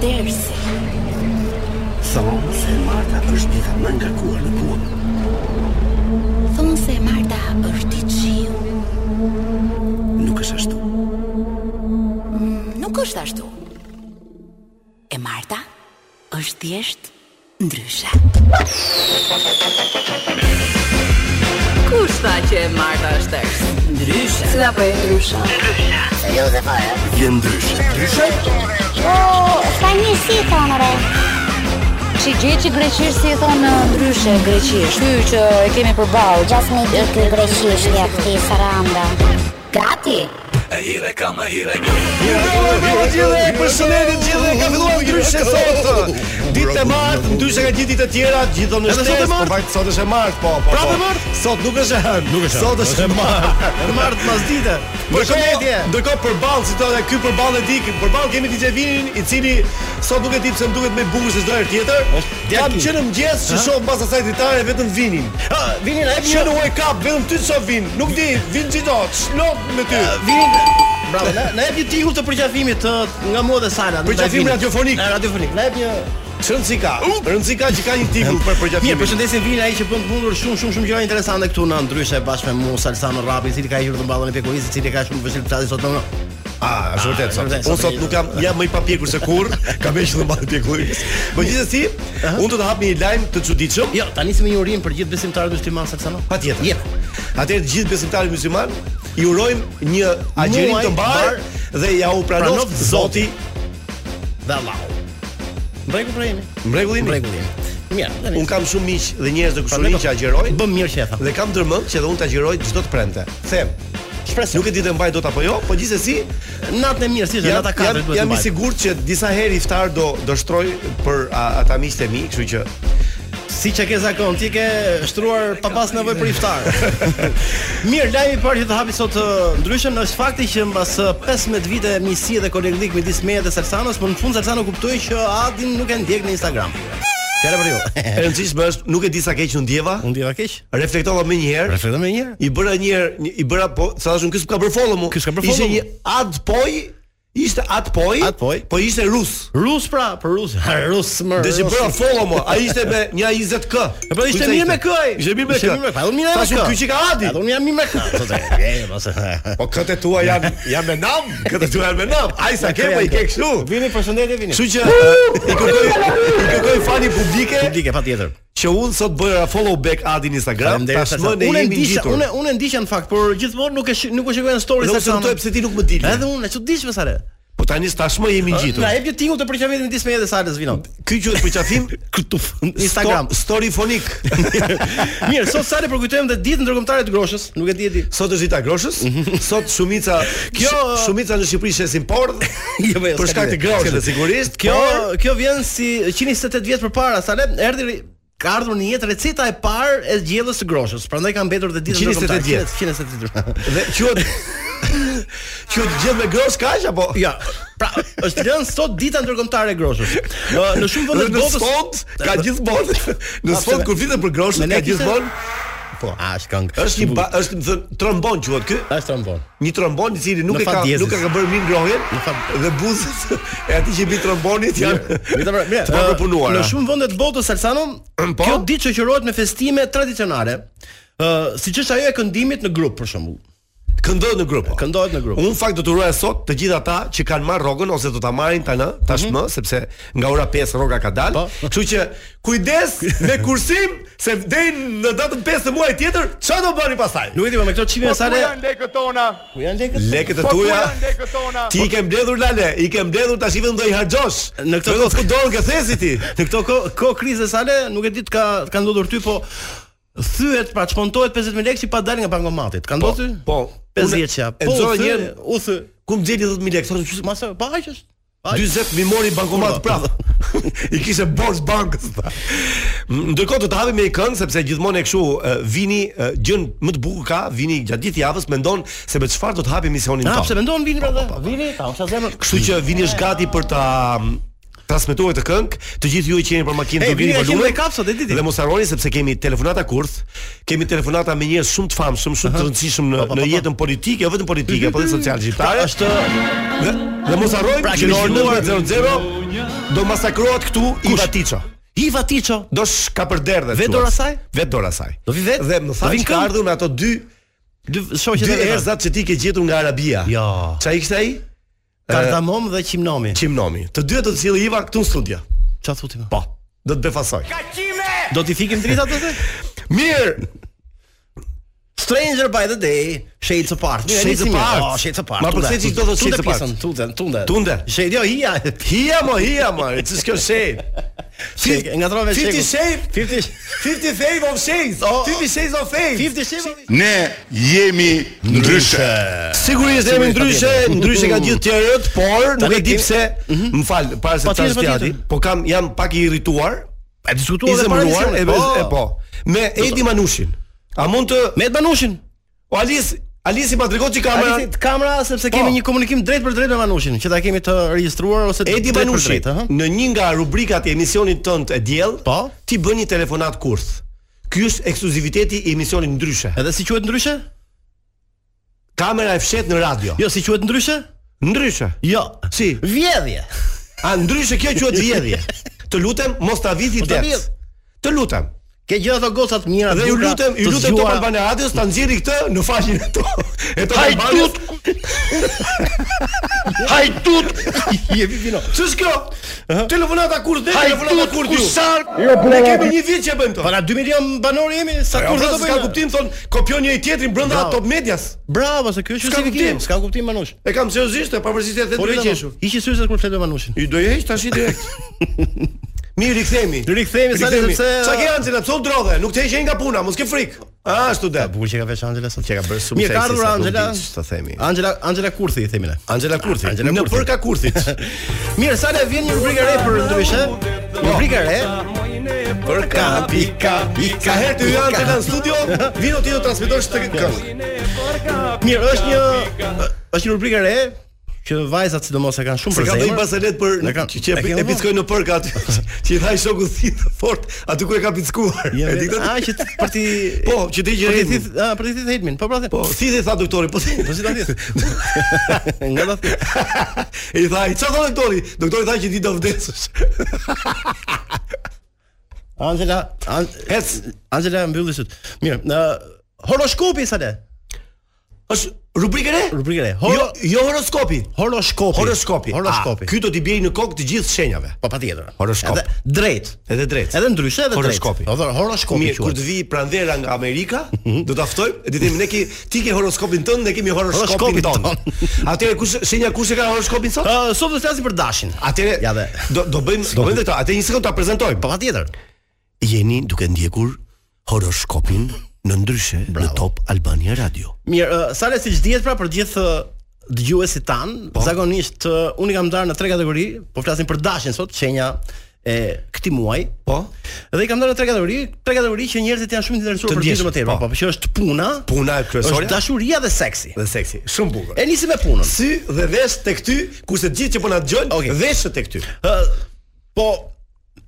dersi. Thonë se Marta është dita më ngarkuar në punë. Thonë se Marta është i qiu. Nuk është ashtu. Nuk është ashtu. E Marta është thjesht ndryshe. Kush tha që e Marta është tërës? Ndryshe. Si apo e ndryshe? Je ndryshe. Që gjë që greqisht si e thonë ndryshe greqisht. Ky që e kemi përballë. Gjas me dikë greqisht ja këti saranda Gati E hire kam, e hire Mirëmbrëma gjithë, përshëndetje gjithë, ka filluar ndryshe sot. Ditë e martë, ndryshe ka gjithë ditë të tjera, gjithë në Edhe sot e shtes, po martë? vajt sot është e martë, po, po. Prapë po. e martë? Sot nuk është e hënë, Nuk është e hënë, Sot është e martë. E martë pas dite. Përshëndetje. Ndërkohë përballë situata ky përballë e dik, përballë kemi DJ Vinin, i cili sot nuk e di pse më duket më i bukur se çdo herë tjetër. Kam që në mëngjes që shoh pas asaj ditare vetëm Vinin. Ah, vini na jep Që në wake up vetëm ty të shoh Vin. Nuk di, Vin çdo, çlot me ty. Vini. Bravo. Na na jep një tikull të përqafimit të nga moda sala. nuk Përqafim ta vini. radiofonik. Na radiofonik. Na jep një Çrëndsi ka. Rëndsi ka që ka një tikull për Mirë, përgjafimin. përshëndesim Vini ai që bën punën shumë shumë shumë gjëra interesante këtu në ndryshe bashkë me mua Salsano Rapi, i cili ka hyrë të mballën e pekurisë, i cili ka shumë vështirë të flasë sot në. Ah, është vërtet sot. vërtet, Unë sot sot nuk jam jam më i papjekur se kur, kam më shumë mbaj pjekullës. Po gjithsesi, unë do të hap një lajm të çuditshëm. Jo, tani si me një urim për gjithë besimtarët musliman Salsano. Patjetër. Jep. Atëherë të gjithë besimtarët musliman i urojmë një agjerim Muaj të mbar mbar dhe ja u pranoft pranoft Zoti Dhe Allahu. Mbrekull pra jemi. mrekullin. Mbrekull jemi. Mirë, tani. Unë kam shumë miq dhe njerëz të kushurin që agjerojnë Bëm mirë qefa. dhe kam ndërmend që edhe unë të agjeroj çdo të premte. Them, Shpresë. nuk e di të mbaj dot apo jo, po gjithsesi natën e mirë, si është Jam, nata jam, 4 duhet të jam i mbajmë. sigurt që disa herë iftar do do shtroj për a, ata miqtë e mi, kështu që Si që ke zakon, ti ke shtruar pa pas nevojë për iftar. Mirë, lajmi i parë që të hapi sot ë, ndryshëm është fakti që mbas ë, 15 vite miqësie dhe koleglik midis meje dhe Salsanos, por në fund Salsano kuptoi që Adin nuk e ndjek në Instagram. Fjala për ju. e rëndësishme është nuk e di sa keq u ndjeva, Unë ndjeva keq. reflektova më një herë, Reflekto më një herë. i bëra një herë, një- i bëra po, sa thashun ky s'ka bër follow mu. Ky s'ka bër Ishte follow mu. një ad poj, ishte ad poj, Ad poj. po ishte rus. Rus pra, për rus. Ha, Rus më. Dhe që rus. bëra follow mu, ai ishte me një 20k. E po ishte Kujtë mirë me ishte? këj. Ishte mirë me kë. Ishte mirë me kë. Unë mirë me Thashun, kë. ky që ka adi. Edhe unë jam mirë me kë. Thotë, "E, mos e." Po këtë tua janë janë me nam, këtë tua janë me nam. Ai sa ke po i ke kështu. Vini, përshëndetje, vini. Kështu që e, i kërkoj i kërkoj fani publike Publike patjetër. që unë sot bëra follow back adin Instagram, Faleminderit tashmë Salsan. ne Unë e jemi ndiqja, ngjitur. unë unë e ndiqja në fakt, por gjithmonë nuk e shi- nuk e shikoj në story Nuk se kuptoj pse ti nuk më dil. Edhe unë e çuditshme sa re. Po tani tashmë jemi ngjitur. Na jep një tingull të përqafimit midis meje dhe Salës Vino. Ky quhet për qafim Këtu Instagram. sto- story fonik. Mirë, sot Salë përkujtojmë dhe ditën ndërkombëtare të groshës, nuk e di e di. Sot është dita groshës, sot shumica Mhm. Kjo- shumica në Shqipëri shesin porr. Jo, jo, s'ka Për shkak të ide, s'ka groshës Po, ide. sigurisht. Kjo por- kjo vjen si 128 vjet përpara, Salë erdhi ka ardhur në jetë receta e parë e gjellës së groshës. Prandaj ka mbetur dhe ditën 128 vjet. 128 vjet. dhe quhet quhet gjë me grosh kaq apo? Ja, pra është lënë sot dita ndërkombëtare e groshës. Ë, Në shumë vende Dhe të në botës sfond ka gjithmonë. Në sfond kur flitet për groshën Me ne ka kishte- gjithmonë Po, a është këngë. është një ba, është më thënë trombon quhet ky. Tash trombon. një trombon i cili nuk Në e ka fat diezis. nuk e ka bërë mirë ngrohjen fat- dhe buzët e atij që mbi trombonit janë Mirë, pra, mirë. të papërpunuara. Në shumë vende të botës Salsano, Po? kjo ditë shoqërohet me festime tradicionale. Ë, siç është ajo e këndimit në grup për shembull. këndohet në grup. po. Këndohet në grup. Unë në fakt do të uroja sot të gjithë ata që kanë marrë rrogën ose do ta marrin tani tashmë sepse nga ora 5 rroga ka dalë. Mhm. Po. Kështu që kujdes me kursim se deri në datën 5 të muajit tjetër çfarë do bëni pastaj? Nuk e di po, me këto çime sa re. lekët tona? Ku janë lekët? Lekët e tuaja Po, lekët tona? Ti i ke mbledhur lale, i ke mbledhur tash i vetëm do i harxosh. Në këtë do të dorën ke thesi ti. Në këto ko, ko krize sale, nuk e di të ka të ka ndodhur ty, po thyet pra çmontohet 50.000 lekë që pa dalë nga bankomatit. Ka ndodhur ty? po. 50 çka. E nxorë një herë, u thy. ku më xheli 10000 lekë? Thonë, Mas pa aq është. Pa aq. 40 mi mori bankomat prapë. I kishe borx bankës tha. M- Ndërkohë do të hapi me një këngë sepse gjithmonë e kështu e, vini e, gjën më të bukur ka, vini gjatë gjithë javës mendon se me çfarë do të hapi misionin Na, tonë. pse mendon vini pra? dhe? Vini, ta usha zemrën. Kështu që vini është gati për ta m, transmetohet të këngë, të gjithë ju që jeni për makinë E, do vini, vini e kemi volume. dhe kap sot, e diti. Dhe mos harroni sepse kemi telefonata kurth, kemi telefonata me njerëz shumë të famshëm, shumë të rëndësishëm në Pa, pa, Mhm. pa, në pa. jetën politike, jo vetëm politike, po por edhe sociale shqiptare. Është Dhe, dhe mos harrojmë Pra, që kemi në orën zhvilluar- 19:00 do masakrohet këtu Iva Tiço. Iva Tiço. Do shka për derdhe. Vetë quhet. dora saj? Vetë dora saj. Do vi vetë? Dhe më Do thanë vinë që ka këngë? ardhur me ato dy Dy shoqet dy e veta. erzat që ti ke gjetur nga Arabia. Jo. Çai ishte ai? Kardamom dhe qimnomi. Qimnomi. Të dyja do të cilë Iva këtu në studio. Çfarë thotë më? Po, do të befasoj. Do t'i fikim dritat atë? Mirë, Stranger by the Day, Shades Apart. Mirë, Shades nisi mirë. Apart. Oh, Shades Apart. Ma tunde, përse që tunde, do thotë Shades tunde Apart? pjesën, Tunde, tunde. Tunde. Shades, jo, hija. hija mo, hija mo, që s'kjo shej. Shek, e ngatrove shekut. 50 shej, 50 50 fave of shades, 50 shades of fave. 50 shek. Ne jemi ndryshe. Sigurisht jemi ndryshe, patjetër. ndryshe nga gjithë tjerët, por nuk Tani e di kemi- Mhm. pse, më fal, para se të Patjetër, thashë ti, patjetër. po kam jam pak i irrituar, E diskutuam i edhe para zemëruar, e, emisionit. po. e po. Me Edi Manushin. A mund të Me Ed Banushin. O Alis, Alisi ma tregon ç'i kamera? Alisit kamera sepse kemi Po. një komunikim drejt për drejt me Manushin, që ta kemi të regjistruar ose Edi drejt për Manushi, drejt, aha. në një nga rubrikat e emisionit tënd e diell, Po. ti bën një telefonat kurth. Ky është ekskluziviteti i emisionit ndryshe. Edhe si quhet ndryshe? Kamera e fshet në radio. Jo, si quhet ndryshe? Ndryshe. Jo. Si? Vjedhje. A ndryshe kjo quhet vjedhje. Të lutem mos ta vithi Mos Po ta det. vjedh. Të lutem. Ke gjithë ato gocat mira. Dhe ju bukura, lutem, ju të lutem Top zgjuara. Albania Radios ta nxjerrë këtë në faqen e to. E Top Haj Albanias. Hajdut, Jepi vino. Ç'është kjo? Telefonata kurth, dhe telefonata hajdut, kurth. ju. kusar, Jo, po Ne kemi një vit që e bëjmë këtë. Para 2 milion banor jemi, sa Kur kurrë do do të ka bëjmë? kuptim thon kopjon njëri tjetrin brenda Bravo. Top Medias. Bravo, se ky është S'ka kuptim. justifikim. S'ka kuptim Manush. E kam seriozisht, e pavarësisht se Po do le të qeshur. Ishi syrse kur flet me Manushin. I do i heq tash i direkt. Mirë rikthehemi. Rikthehemi sa Rikthehemi. sepse Çka ke ancën pse u drodhe? Nuk të heqen nga puna, mos ke frikë. Ah, student. Bukur që ka vesh Angela sot. Që ka bërë shumë Mirë, ka seksi ardhur sa Angela. nuk di që të themi. Angela Angela Kurthi i themi ne. Angela Kurthi. Angela Në Kurthi. për ka Kurthit. Mirë, sa ne vjen një rubrikë re për ndryshe. Rubrikë re. për ka pika pika. Herë të janë të në studio, vino ti do transmetosh të këngë. Mirë, është një është një rubrikë re që vajzat sidomos e kanë shumë Se për ka ndonjë zemër. baselet për Ne kanë- që që e e- kemi e pickoj në përka aty. Që i thaj shoku thith fort, aty ku e ka pickuar. Ja, E di A këtë? Ah, që t- për ti Po, që ti që për ti hedhim. thith, a, për ti thith Helmin, po pra thith. Po, si i tha doktori, po si. Po si ta thith? Nga ta thith. E i tha, "Çfarë thonë doktori?" Doktori tha që ti do vdesësh. Angela, An Ec. Angela mbylli sot. Mirë, ë horoskopi sa le? Është rubrikë e re? Rubrikë re. Jo, Horo, jo horoskopi. horoskopi. Horoskopi. Ah. Horoskopi. A, Ky do t'i bëj në kokë të gjithë shenjave. Po patjetër. Horoskop. Edhe drejt. Edhe drejt. Edhe ndryshe edhe Horoskopi. drejt. Edhe horoskopi. Mirë, kur të vi pranvera nga Amerika, do ta ftojmë, e ti themi ne ke ti ke horoskopin tënd, ne kemi horoskopin Horoskopin ton. ton. Atëherë kush shenja kush e ka horoskopin sot? Ë, sot do të flasim për dashin. Atëherë Ja dhe. do do bëjmë do bëjmë këtë. Atëherë një sekondë ta prezantojmë. Po patjetër. Jeni duke ndjekur horoskopin në ndryshe në Top Albania Radio. Mirë, ë, sa le siç dihet pra për gjithë ë, dëgjuesit tan, Po. zakonisht ë, unë i kam ndarë në tre kategori, po flasim për dashin sot, shenja e këtij muaji. Po? Dhe i kam ndarë në tre kategori, tre kategori që njerëzit janë shumë të interesuar Të për ditën ndjeshëm, më tepër, po. po, po që është puna, Puna e kryesorja. Është dashuria dhe seksi. Dhe seksi, shumë bukur. E nisim me punën. sy dhe vesh tek ty, kurse të gjithë që po na dëgjojnë, Okej. veshë tek ty. Ë, po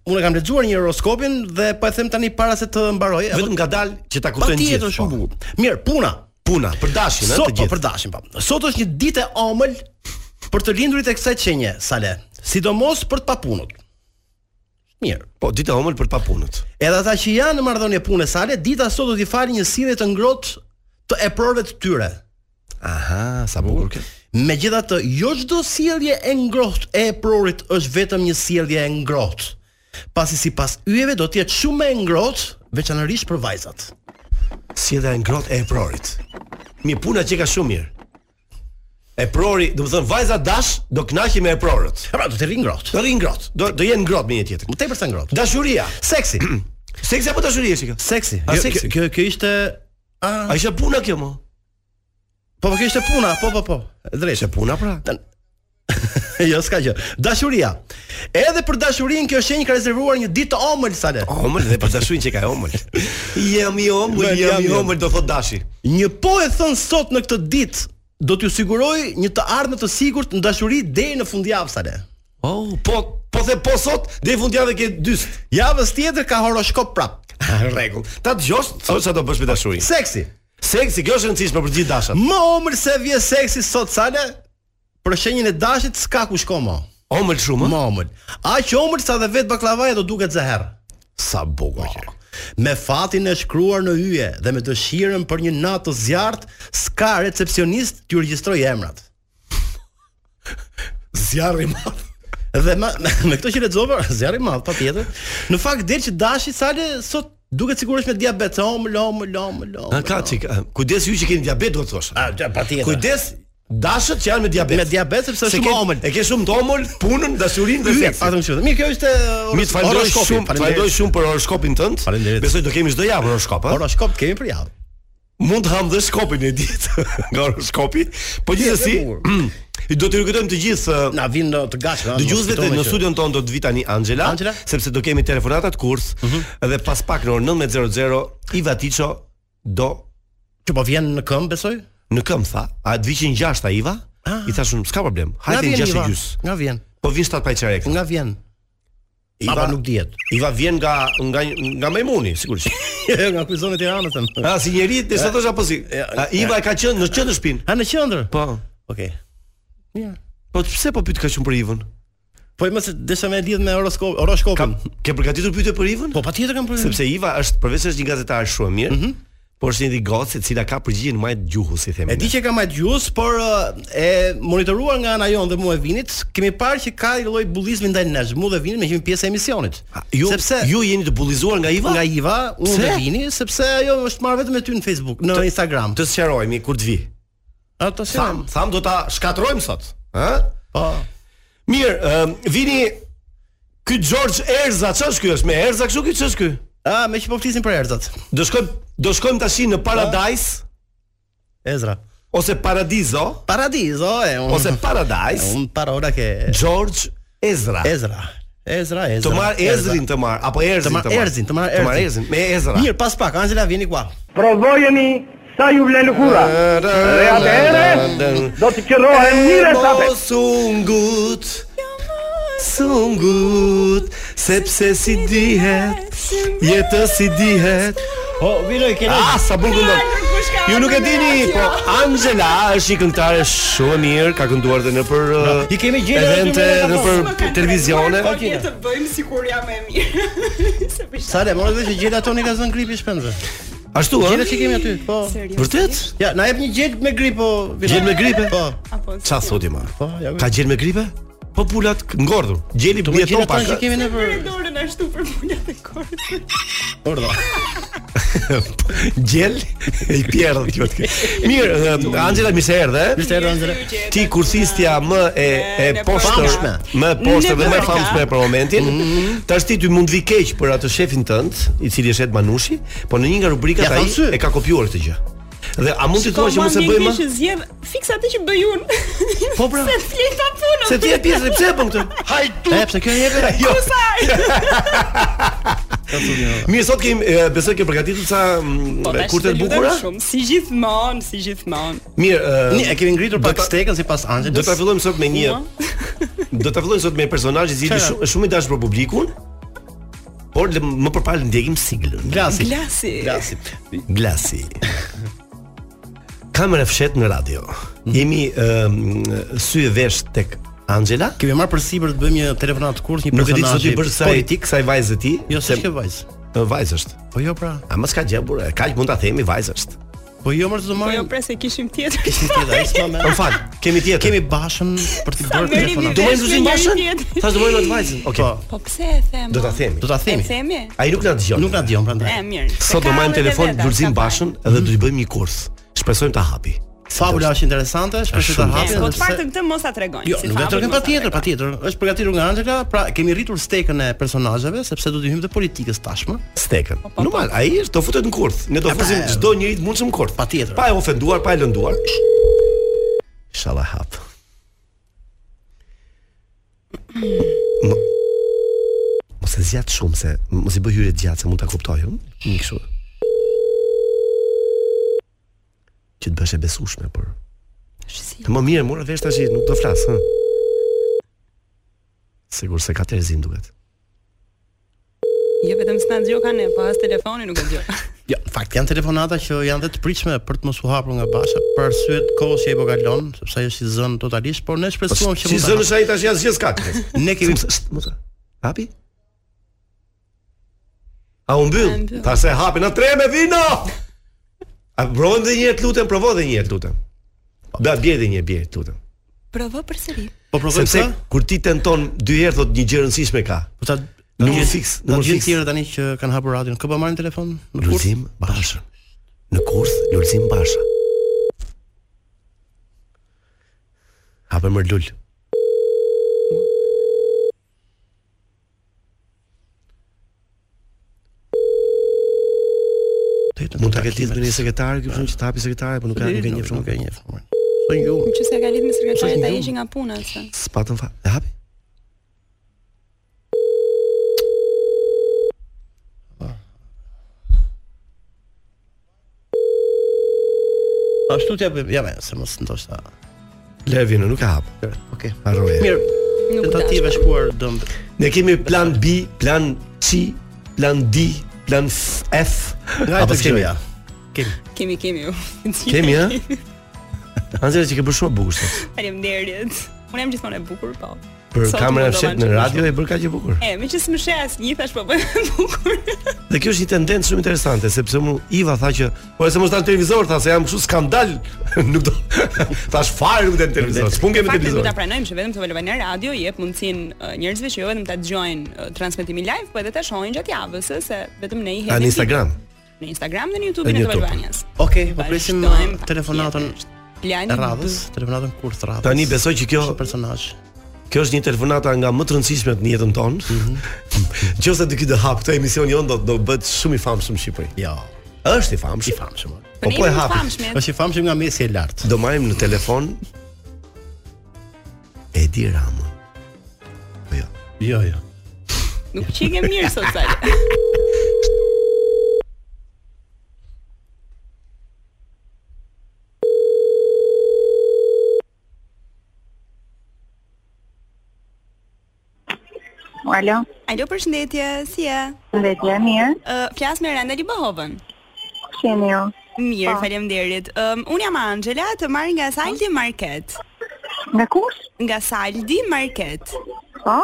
unë e kam lexuar një horoskopin dhe po e them tani para se të mbaroj. po Vetëm nga dalë që ta kuptojnë gjithë. patjetër shumë po. bukur. Mirë, puna. Puna, për dashin, ëh, Sot të po gjithë. për dashin pa. Sot është një ditë e ëmbël për të lindurit e kësaj çënje, Sale. Sidomos për të papunët. Mirë. Po, ditë e omël për papunët. Edhe ata që janë në marrëdhënie pune sale, dita sot do t'i falë një sirrje të ngrohtë të eprorëve të tyre. Aha, sa bukur kjo. Megjithatë, jo çdo sjellje e ngrohtë e eprorit është vetëm një sjellje e ngrohtë. Pasi sipas yjeve do të jetë shumë më e ngrohtë, veçanërisht për vajzat. Si edhe e ngrohtë e eprorit. Mi puna që ka shumë mirë. Eprori, do të thënë vajza dash do kënaqi me eprorët. Pra do të rri ngrohtë. Do rri ngrohtë, do do jenë ngrohtë me një tjetrin. Më tepër sa ngrohtë. Dashuria. Seksi. Seksi apo dashuria është kjo? Seksi. A, Jo, seksi. kjo- Kjo kjo ishte A ishte puna kjo mo? Po po kjo ishte puna, po po po. E Drejtë. Ishte puna pra. jo, s'ka gjë. Dashuria. Edhe për dashurinë kjo shenjë ka rezervuar një ditë të ëmbël sale. Omël dhe për dashurin që ka e omël. jam i omël, Jam i jam i omël. omël do thot dashi. Një po e thën sot në këtë ditë do t'ju siguroj një të ardhmë të sigurt në dashuri deri në fundjavë sale. Oh, po po the po sot deri fundjavë ke dyst. Javës tjetër ka horoskop prap. Rregull. Ta dëgjosh, thonë sa do bësh me dashurinë. Seksi. Seksi, kjo është e rëndësishme për gjithë dashat. Më omër se vje seksi sot sale, për shenjën e dashit s'ka ku shko mo. Omël shumë. Më omër. Aq omër sa dhe vet baklavaja do duket zeherr. Sa bukur që. Me fatin e shkruar në yje dhe me dëshirën për një natë të zjarrt, s'ka recepcionist t'ju regjistroj emrat. Zjarri i madh. Dhe ma, me këto që lexova, zjarri i madh patjetër. Në fakt del që dashi sale sot duket sigurisht me diabet, om lom lom lom. A ka çik, a, kujdes ju që keni diabet do të thosh. A, ja, patjetër. Kujdes dashët që janë me diabet. Me diabet sepse Se është ke- shumë omël. E ke shumë të omël, punën, dashurinë dhe Yje, seksin. patëm që. Mirë, kjo është uh, Mi të falenderoj shumë, të falenderoj shumë për horoskopin tënd. Falenderit. Besoj do kemi çdo javë horoskop, ha. Horoskop të kemi për javë. Mund të ham dhe skopin e ditë nga horoskopi, po gjithsesi bukur. mm, do të rikujtojmë të gjithë ë, Na vinë të gatshme. Dëgjuesve të në studion ton do të vi tani Angela, Angela? Mhm. sepse do kemi telefonatat kurs dhe pas pak në orën 19:00 Iva Tiço do që po vjen në këmbë besoj? në këmbë tha. A të viqin 6 Iva? Ah. I thashun, s'ka problem. Hajde në 6 e gjys. Nga vjen. Po vin 7 pa i çerek. Nga vjen. Iva Apo po nuk dihet. Iva vjen nga nga nga Majmuni, sigurisht. nga kuizoni Tiranës. them. A Ah, si njeri të sa thosha po si. A, Iva ka qenë në qendër shtëpin. Ha në qendër. Po. Okej. Po pse po pyet ka qenë për Ivën? Po më se desha me lidh me horoskop, horoskopin. Ke përgatitur pyetje për Ivën? Po patjetër kam problem. Sepse Iva është përveç se është një gazetare shumë e mirë, por është një gocë e cila ka përgjigjen majt gjuhu, si themi. E di që ka majt gjus, por ë, e monitoruar nga ana jon dhe mua e vinit, kemi parë që ka një lloj bullizmi ndaj nesh. Mua dhe vinit ne kemi pjesë e emisionit. A, Ah, Ju, sepse ju jeni të bullizuar nga Iva? nga Iva, unë Pse? dhe vini, sepse ajo është marrë vetëm me ty në Facebook, në Instagram. Të sqarojmë kur të vi. Ato si Tham, tham do ta shkatrojmë sot, ë? Po. Mirë, ëm, vini ky George Erza, ç'është ky? Është me Erza kështu ky ç'është ky? A, me që po flisin për Erzat. Do shkojmë do shkojmë tash në Paradise Ezra. ose Paradiso Paradiso, e unë. ose Paradise unë parola ke George Ezra. Ezra. Ezra, Ezra. Të marr Ezrin të marr apo Të Erzin marr Erzin, të marr Të marr Erzin. Erzin me Ezra. Mirë, pas pak Angela vini kua. provojeni sa ju vlen lëkura. Ε, Dhe atëherë do të qërohem mire sa E be. mos sungut Sungut Sepse si dihet Jetës si dihet O, vini ke Ah, sa bukur këndon. Ju nuk e dini, po Angela është një këngëtare shumë e mirë, ka kënduar edhe në për uh, I kemi gjetur evente, edhe Po, në për televizione. Okej. të bëjmë sikur jam e mirë. Sa le, morë vetë që gjela toni ka zënë gripi shpenzë. Ashtu Gjela që ë? kemi aty, po. Vërtet? Ja, na jep një gjel me grip po. Gjel Gjel me gripe? Po. Ça thotë ma? Po, ja. Ka gjel me gripe? Po pulat k- ngordhur. Gjeli Të më bjeton gjela tani që pak. kemi ne për Dorën ashtu për mulat e korrit. ordo. Gjel i pjerdh kjo. të ke. Mirë, ë, Angela mi se erdhe. ë? Mr. Angela. Ti kursistja më e e Në poshtër, Famshme. më e poshtër Në dhe më e Bërka. famshme për momentin. Tash ti ty mund vi keq për atë shefin tënd, i cili është Ed Manushi, po në një nga rubrikat Ja, ai kam sy. e ka kopjuar këtë gjë. Dhe a mund të thua Po, që mos e bëjmë? Që zgjedh fiks atë që bëj unë. Po pra. Se flet ta punën. Se ti e pjesë pse e bën këtë? Hajtu. E, pse kjo e jepet? Jo. Mirë, sot kemi e, besoj ke përgatitur sa mm, kurte tash Po, të të lutem bukura. Shumë, si gjithmonë, si gjithmonë. Mirë, e, Ne e kemi ngritur do pak ta- stekën sipas Do ta Angelës. fillojmë sot me një Do ta fillojmë sot me një personazh i cili Çfarë? shumë shumë i dashur për publikun, por le- më përpara ndjekim siglën. Glasi. Glasi. Glasi. Glasi. Kamera fshet në radio. Jemi um, sy e vesh tek Angela. Kemi marrë përsipër të bëjmë një telefonat kurs, një Nuk e di çfarë personazh ti bësh sa politik. sa vajzë ti. Jo, se se ke vajzë. Ë, vajzë është. Po jo pra. A mos ka gjë burë, kaq mund ta themi vajzë është. Po jo mërë të të Po jo marrim. pres e kishim tjetër. Kishin tjetër, ai s'ma merr. Në fakt, kemi tjetër. Kemi bashën për të bërë merri telefonat. vite. Do të ndryshim Kemi bashën? tjetër. Thash do bëjmë atë vajzën. Okej. Po pse e them? Do ta o? themi. Do ta E themi. themi? Ai nuk na dëgjon. Nuk na dëgjon prandaj. E mirë. Se Sot do ka marrim edhe telefon veta, Lulzim s'ka Bashën edhe do i bëjmë një kurs. Shpresojmë ta hapi. Fabula është interesante, shpresoj ta shumë fajin. E, hapim. Po sepse- të paktën këtë mos ta tregojnë. Jo, si nuk do të fabul, tregojmë mos ta patjetër, patjetër. Është përgatitur nga Angela, pra kemi rritur stekën e personazheve sepse do të hyjmë te politikës tashmë. Stekën. Normal, ai është do futet në kurth. Ne do Ja, pa, fusim Po, e- çdo njeri të mundshëm në kurth. Patjetër. Pa e ofenduar, pa e lënduar. Inshallah hap. Mo- Mos e zgjat shumë se mos i bëj hyrje të gjatë se mund ta kuptoj unë. Një kështu. Që të bësh e besueshme për. Të më mirë, mora vesh tash, nuk do flas, hë. hm? Sigur se ka Terzin duket. Jo vetëm s'na dëgjoj kanë, po as telefoni nuk e dëgjoj. Jo, në fakt janë telefonata që janë dhe të pritshme për të mos u hapur nga basha për arsye të kohës që ai po kalon, sepse ajo si zën totalisht, por ne shpresojmë Po, që Po, Si mund ta zënë është ai tash jashtë gjithë skak. Ne kemi Hapi? A u mbyll? Ta se hapi në tre me vino. A provon dhe një herë të lutem, provo dhe një herë të lutem. Da bje dhe një herë, bje të lutem. Provo përsëri. Po provoj sepse kur ti tenton dy herë thot një gjë e rëndësishme ka. Po ta numër fiks, Në numër gjithë fiks. tjerë tani që kanë hapur radion, kë po marrin telefon në kurs? Lulzim Basha. Në kurs Lulzim Basha. Hapë më lul. Mund ta ketë lidhur me një sekretare, kjo punë që të hapi sekretare, po nuk ka nuk e njeh shumë, nuk e njeh shumë. Po ju, Nëse ka lidhë me Është sekretaren, ta një- ishi nga puna se. spatën fa. E hapi? Ashtu t'ja bëj, ja me, se mos ndoshta. Levin nuk e hap. Okej. Harroje. Mirë. Nuk Tentativa e shkuar dëm. Ne kemi plan B, plan C, plan D, plan F. F. Nga e të s'kemi? gjoja. Kemi kemi ju. Kemi, ha? Anzera që ke bërë shumë bukur sot. Faleminderit. Unë jam gjithmonë e bukur, po. Për Sot kamerën më e fshet dova në shumë radio e bërë kaq e bukur. E, me që s'më shes, një thash po bëjmë bukur. Dhe kjo është një tendencë shumë interesante, sepse mu Iva tha që, po e se mos ta në televizor, tha se jam kështu skandal, nuk do. Thash fare nuk do në televizor. S'pun kemi Faktin ku televizor. ta pranojmë që vetëm të vëllëve në radio jep mundësinë uh, njerëzve që jo vetëm ta dëgjojnë uh, transmetimin live, po edhe ta shohin gjatë javës, ëh, se vetëm ne i A hedhim. në Instagram. film. Në Instagram dhe në YouTube-in Në e të YouTube. Valvanias. Okej, po presim Vazhdojmë, pa telefonatën e Lajmi radhës, telefonatën kurth radhës. Tani besoj që kjo është personazh. Kjo është një telefonata nga më të rëndësishmet në jetën tonë. Nëse do ky të hap këtë emision jon do do bëhet shumë i famshëm në Shqipëri. Jo. Është i famshëm. I famshëm. o. Po po e hapi. Është i famshëm nga mesi e lartë. Do marrim në telefon Edi Ramën. Po jo. Jo, jo. Nuk qike mirë sot Sali. Alo, Alo, përshëndetje, si je? ndetje, mirë, Uh, flas me Randa Libohovën. që jeni ju? Mirë, Po. faleminderit. Um, unë jam Angela, të marr nga Saldi Market. Nga kush? Nga Saldi Market. Po?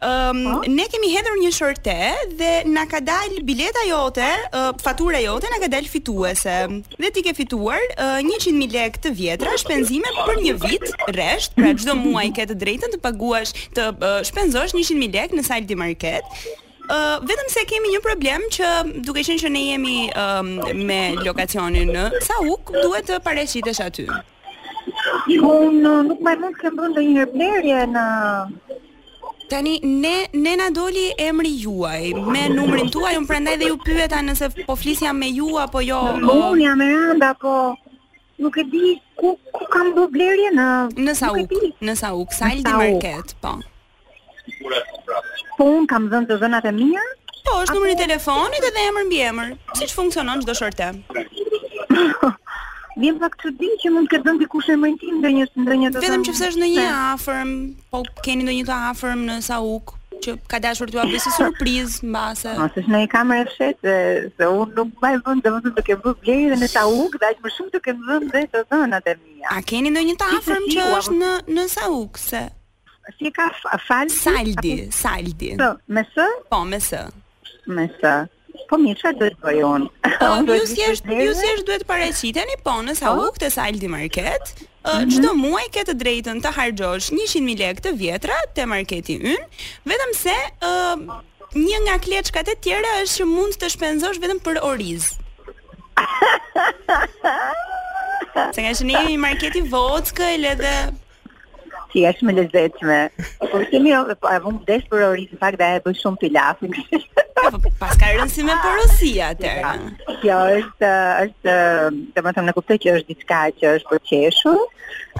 Um, ne kemi hedhur një shorte dhe na ka dal bileta jote, uh, fatura jote na ka dal fituese. Dhe ti ke fituar uh, 100.000 lekë të vjetra shpenzime për një vit rresht, pra çdo muaj ke të drejtën të paguash, të uh, shpenzosh 100.000 lekë në Saldi Market. Ë, vetëm se kemi një problem që duke qenë që ne jemi um, me lokacionin në Sauk, duhet të paraqitesh aty. Unë nuk më mund të kem bërë ndonjë blerje në Tani ne ne na doli emri juaj me numrin tuaj, unë prandaj dhe ju pyeta nëse po flisja me ju apo jo. Unë jam e rënda, po nuk e di ku ku kam bërë blerje në Në nuk Sauk, e di. në Sauk, Saldi Sauk. Market, po. Po unë kam dhënë të dhënat e mia. Po, është numri i telefonit edhe emër mbi emër, siç funksionon çdo shorte. Vjen pak çudi që mund të ketë dhënë dikush emrin tim ndonjë ndonjë të Vetëm dhënë. që pse është në një afërm, po keni ndonjë të afërm në Sauk që ka dashur t'ju bëj si surprizë mbase. Mos Po, është në një kamerë e fshetë, se- se unë nuk mbaj vend domethënë të kem bërë blerje në Sauk, dhe aq më shumë të kem dhënë dhe të dhënat e mia. A keni ndonjë të Si afërm të që diu, është në në Sauk se Si e ka f- falë? Saldi, Saldi. Po, me së? Po, me s. Me së. Po mirë, çfarë duhet bëj unë? Ë, Unë duhet Po, Ju të thjesht vizitoj ju dhe- thjesht duhet paraqiteni po në Sauk të Saldi Market. Ë, Çdo muaj ke të drejtën të harxhosh 100.000 lekë të vjetra te marketi ynë, vetëm se ë një nga kleçkat e tjera është që mund të shpenzosh vetëm për oriz. Se nga që ne jemi marketi vockël edhe Ti je shumë e lezetshme. Po ti mirë, po e vum desh për orin, në fakt dhe e bëj shumë pilafin. pas ka rëndësi me porosia atëherë. Kjo Jo, është është, domethënë ne kuptoj që është diçka që është për qeshur.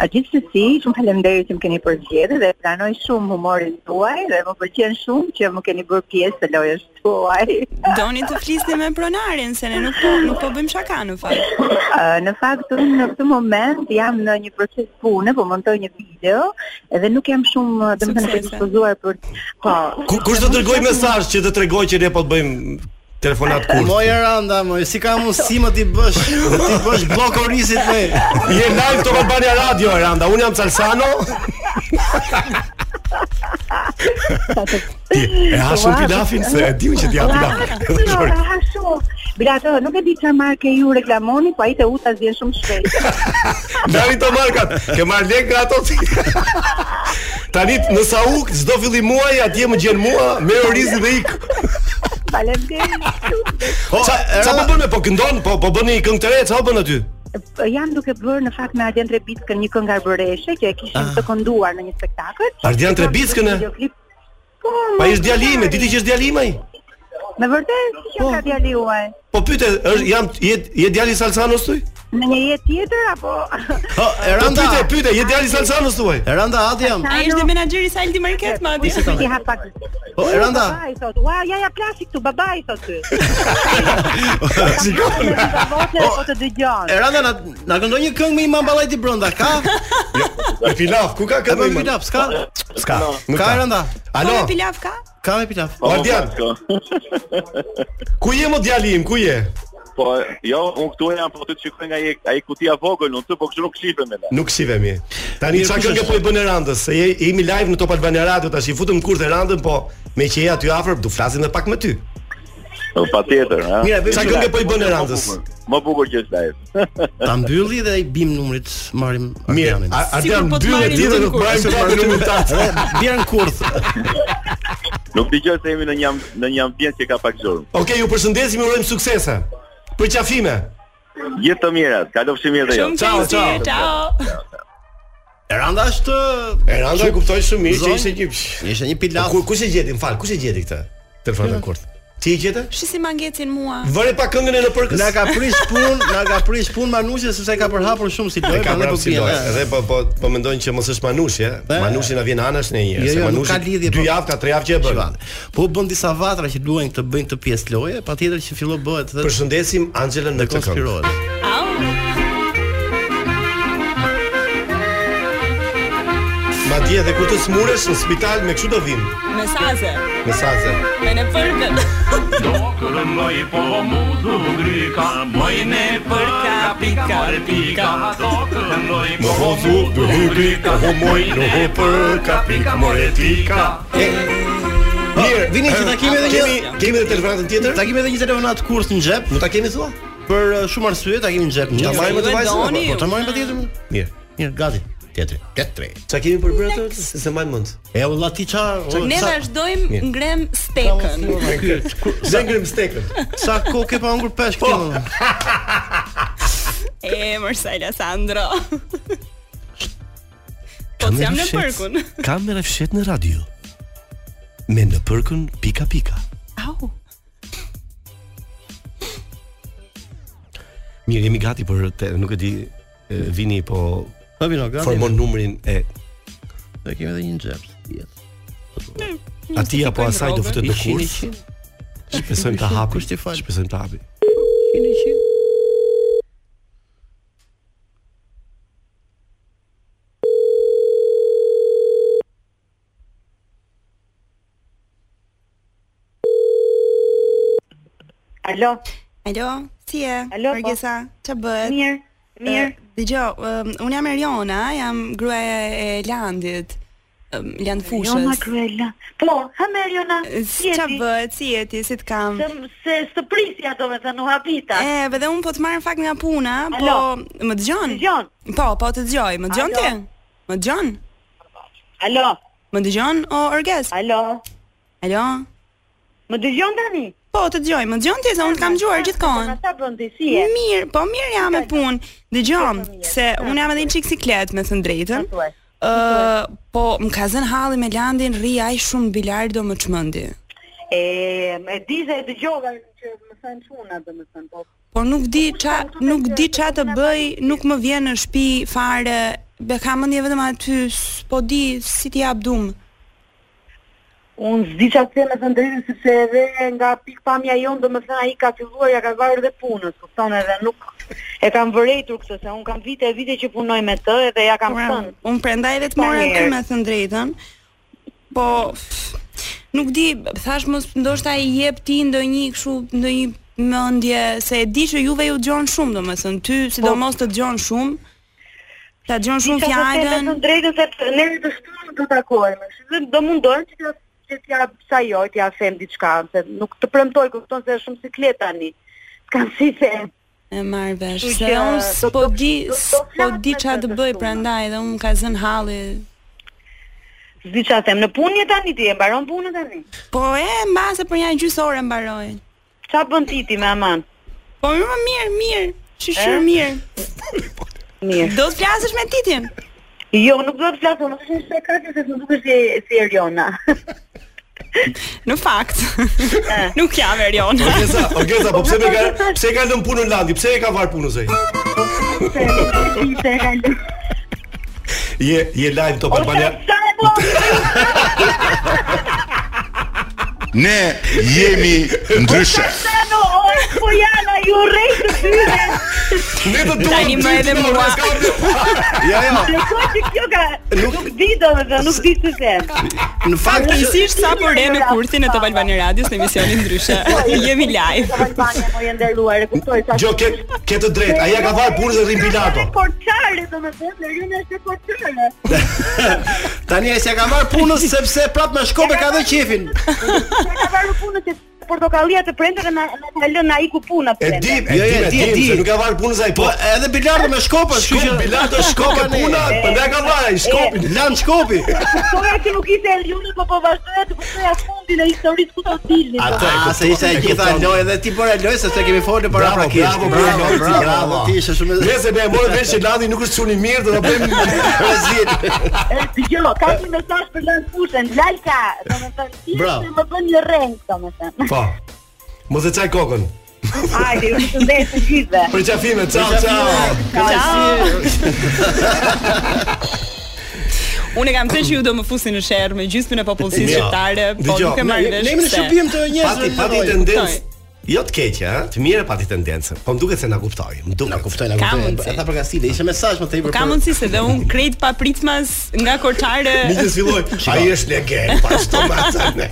A Gjithsesi, shumë faleminderit që më keni përgjedhë dhe pranoj shumë humorin tuaj dhe më pëlqen shumë që më keni bërë pjesë të lojës tuaj. Kuaj. Doni të flisni me pronarin se ne nuk po nuk po bëjmë shaka në fakt. Ë, Në fakt unë në këtë moment jam në një proces pune, po montoj një video edhe nuk jam shumë, domethënë predispozuar për po. Ku- Kush do të dërgoj mesazh që të tregoj që ne po të bëjmë telefonat kurt? Moj Aranda, moj, si ka mundësi më ti bësh, ti bësh blok orisit me. Je live Top Albania Radio Aranda. Un jam Salsano. E hashun Po, pilafin se e diun që ti japi Jo, pilafin. ha shumë. Bila ato, nuk e di çfarë marke ju reklamoni, po ai te uta vjen shumë shpejt. Dari të markat. Ke marr lek nga ato ti. Tani në Sauk çdo fillim muaji atje më gjen mua, me orizin dhe ik. Faleminderit. Po, ça ça po bën me po këndon, po po bëni këngë të re, ça po bën aty? Jam duke bërë në fakt me Ardian Trebickën një këngë arbëreshe që e kishim Ah. të kënduar në një spektakël. Ardian Trebickën, e? Videoklip. Po. Pa më ish djali ime, diti që është djali ime. ai. Me vërtet, që ka djali uaj? Po pyete, është jam je je djali i Salsanos tuaj? Në një jetë tjetër apo? Po, Eranda. Pyete, pyete, je djali i Salsanos tuaj? Eranda Adi jam. Ai është dhe menaxheri i Saldi Market madje. Po, ti ha pak. Po, Eranda. Babai thot, "Ua, ja ja plasi këtu, babai thot ty." Shikon. Vote po të dëgjon. Eranda na na këndon një këngë me Imam Ballajti brenda, ka? E pilaf, ku ka këngë? Me pilaf, s'ka? S'ka. nuk Ka Eranda. Alo. Po Pilaf ka? Ka me pilaf. O, Ardian. Ku je mo djali im, ku je? Po, jo, unë këtu jam, po të të shikoj nga ai ai kutia vogël, unë të, po kështu nuk shifem me ne. Nuk shivemi. Tani Mirë, çka kush këngë është? po i bën Erandës? Se je jemi live në Top Albania Radio tash, i futëm kurth Erandën, po me që je aty afër, do flasim edhe pak me ty. Po patjetër, ha. Mira, veç këngë po i bën Më Erandës? bukur, Më bukur që është live. Ta mbylli dhe i bim numrit, marrim Ardianin. Ar- Ardian, Sikur po të mbyllë marrin ditën, nuk marrim kurth. numrin numërtat. Bjerën kurth. Nuk dëgjoj se jemi në një amb- në një ambient që ka pak zhurmë. Okej, ju përshëndesim, ju urojmë suksese. Për qafime. Jetë të mira, kalofshi mirë dhe jo. Eranda është Eranda e kuptoj shumë mirë që ishte një ishte një pilaf. Ku kush e gjeti, më fal, kush e gjeti këtë? Telefonin kurth. Ti e gjete? Shi si ma ngecin mua. Vëre pa këngën e në përkës. Na ka prish punë, na ka prish punë Manushi sepse ka përhapur shumë si E lojë, ka prandaj prapë po si bie. lojë. Edhe po po po mendojnë që mos është Manushi, ë. Be. Manushi na vjen anash në një herë. Jo, se jo, nuk Manushi ka lidhje. Dy javë, ka tre javë që e bën. Po u bën disa vatra që luajnë këtë bëjnë këtë pjesë loje, patjetër që fillo bëhet. dhe- Përshëndesim Anxhelën në dhe këtë këngë. konspirohet. Madje edhe kur të smuresh në spital me kështu do vim. Me saze, Me saze. me në përkët. Tokër moj po mudu gryka Moj ne për ka pika pika Tokër moj po mudu gryka Moj ne për ka pika moretika Mirë, vini që ta kemi edhe një- kemi kemi edhe telefonatën tjetër? Ta kemi edhe një telefonat kurs në xhep. Nuk ta kemi thua? Për uh, shumë arsye ta kemi në xhep. Ta marrim edhe vajzën, apo? Po ta marrim patjetër. mo. Mirë. Mirë, gati. Tjetri. Tjetri. Çka kemi për bërë atë? Se se mbajmë mend. E u lla ti ça? o, Ne sa- vazhdojmë Mirë. ngrem stekën. Ne ngrem stekën. Sa kohë ke pa hungur Po. peshk ti? mo? E Marcela Sandro. Po të jam në përkun. Kamera fshet në radio. Me në përkun pika pika. Au. Mirë, jemi gati për te, nuk e di e, vini po Po vino gati. formon numrin e Ne kemi edhe një xhep. atij apo asaj do futet në kurs. 100, 100. Shpresojmë ta hapi. Shpresojmë ta hapi. Alo. Alo, si je? Alo, po. Margesa, ç'a bëhet? Mirë, Eh, mirë. Dgjoj, um, unë jam Eriona, jam gruaja e Landit. Um, Land Fushës. Eriona, gruaja. Jo, Po, ha Eriona. Si ç'a bëhet? Si je ti? Si të kam? Se së prisja do me thënë u habita. E, edhe unë po të marr fakt nga puna, po Alo. më dëgjon? Dëgjon. Po, po të dëgjoj. Më dëgjon ti? Më dëgjon? Alo. Më dëgjon o Orges? Alo. Alo. Më dëgjon tani? Po, të dëgjoj. Më dëgjon ti se unë të kam dëgjuar gjithkohën. Ata bën disi. Mirë, po mirë jam me punë. Po, Dëgjom se unë jam edhe një çik siklet me thënë drejtën. Ë, po më ka zënë halli me Landin, rri ai shumë bilardo më çmendi. E, Eh, e di se e dëgjova që më thënë çuna do me thënë. Po, Por nuk di ça, nuk di ça të bëj, nuk më vjen në shtëpi fare. Be kam mendje vetëm aty, s- po di si t'i jap dum. Unë zdi që atë me të ndrejnë, sepse edhe nga pikë pamja jonë, do më thënë a i ka filluar, ja ka varë dhe punës, kupton edhe nuk e kam vërejtur këtë, se unë kam vite e vite që punoj me të, edhe ja kam Ura, thënë. Unë prandaj edhe të Sa mora ty herë. me thënë drejtën. Po pff, nuk di, thash mos ndoshta i jep ti ndonjë kështu ndonjë mendje se e di që juve ju dëgjon shumë domethënë ty sidomos të dëgjon shumë. Ta dëgjon shumë Isha se fjalën. Me të drejtën se të- ne të shtunën do takohemi. Dhe do mundohem që t'ja- që t'ja sa jo, t'ja them diçka, se nuk të premtoj, kupton se është shumë siklet tani. S'kam si them. E marr vesh. Kështu Se që, unë do- s'po do- di, do- do s'po flas di me çfarë të të të bëj shumë. prandaj dhe unë ka zënë halli. Zdi çfarë them, në punë je tani ti, e mbaron punën tani. Po e mbase për një gjysë ore mbaroj. Ç'a bën ti ti me aman? Po më mirë, mirë. Shishir E? mirë. Mirë. Do të flasësh me Titin? Jo, nuk do të flas, unë nuk është se kaq se nuk dukesh si si Eriona. Në fakt. Nuk ja verion. Orgeza, Orgeza, po pse me ka pse e ka lënë punën Landi? Pse e ka varë punën zoj? e Je je live Top Albania. Ne jemi ndryshe. Ano, oj, po jana, ju rrej të tyre. Ne të duam Tani më ty, edhe ti, mua. ora, s'ka Ja, ja. Shikoj që kjo ka nuk di domethënë, nuk di se them. Në Fakt isisht sa por e në kurthin e Top Albani Radios në emisionin ndryshe. Jemi live. Albania po e nderuar, e kuptoj sa. Gjo Jo, ke ke të drejtë. Ai ja ka varë punën Rim Pilato. Porçare domethënë, Eriona është e porçare. Tani ai s'ja ka marr punën sepse prap me shkope ka dhënë qefin. Sa ka varur punën se portokallia të prende dhe na na ka lënë ai ku puna prende. Jo, jo, e di, e di. se nuk ka varë punën zaj. Po edhe bilardo me shkopë, kështu që Shkop, bilardo, shkope, puna, përndaj ka varë, ai, shkopin. Lan shkopi. Kuptoja që nuk ishte Eriona, po po vazhdoja të kuptoja fundin e historisë ku do dilni. Atë, a Ah, se ishte e gjitha lojë dhe ti bëre lojë sepse kemi folur para Bravo, prakisht. bravo, bravo, bravo, bravo. Ti ishe shumë Nëse ne e morëm vesh që Landi nuk është çuni mirë, do ta bëjmë rrezik. Dgjoj, ka një mesazh për Lan Fushën, Lalka, domethënë ti Bravo. se më bën një rreng domethënë. Po. Mos e çaj kokën. Hajde, ju përshëndes të gjithëve. Për qafime, ciao, ciao. Unë e kam thënë që ju do më fusin në sherr me gjysmën e popullsisë shqiptare, po Dgjoj, nuk e marr vesh. ne jemi në pse. shërbim të njerëzve Pati në pati lojë. tendencë. Kuptoj. Jo të keqe, ha? Të mirë pati tendencë. Po më duket se na kuptoi. Më duket. Na kuptoi, Ka kuptoj. mundsi. Ata për gastile, ishte mesazh më tepër. Ka për- mundësi se dhe unë krejt pa pritmas nga korçare. Miqës filloi. Ai është legend, po pa çto macane.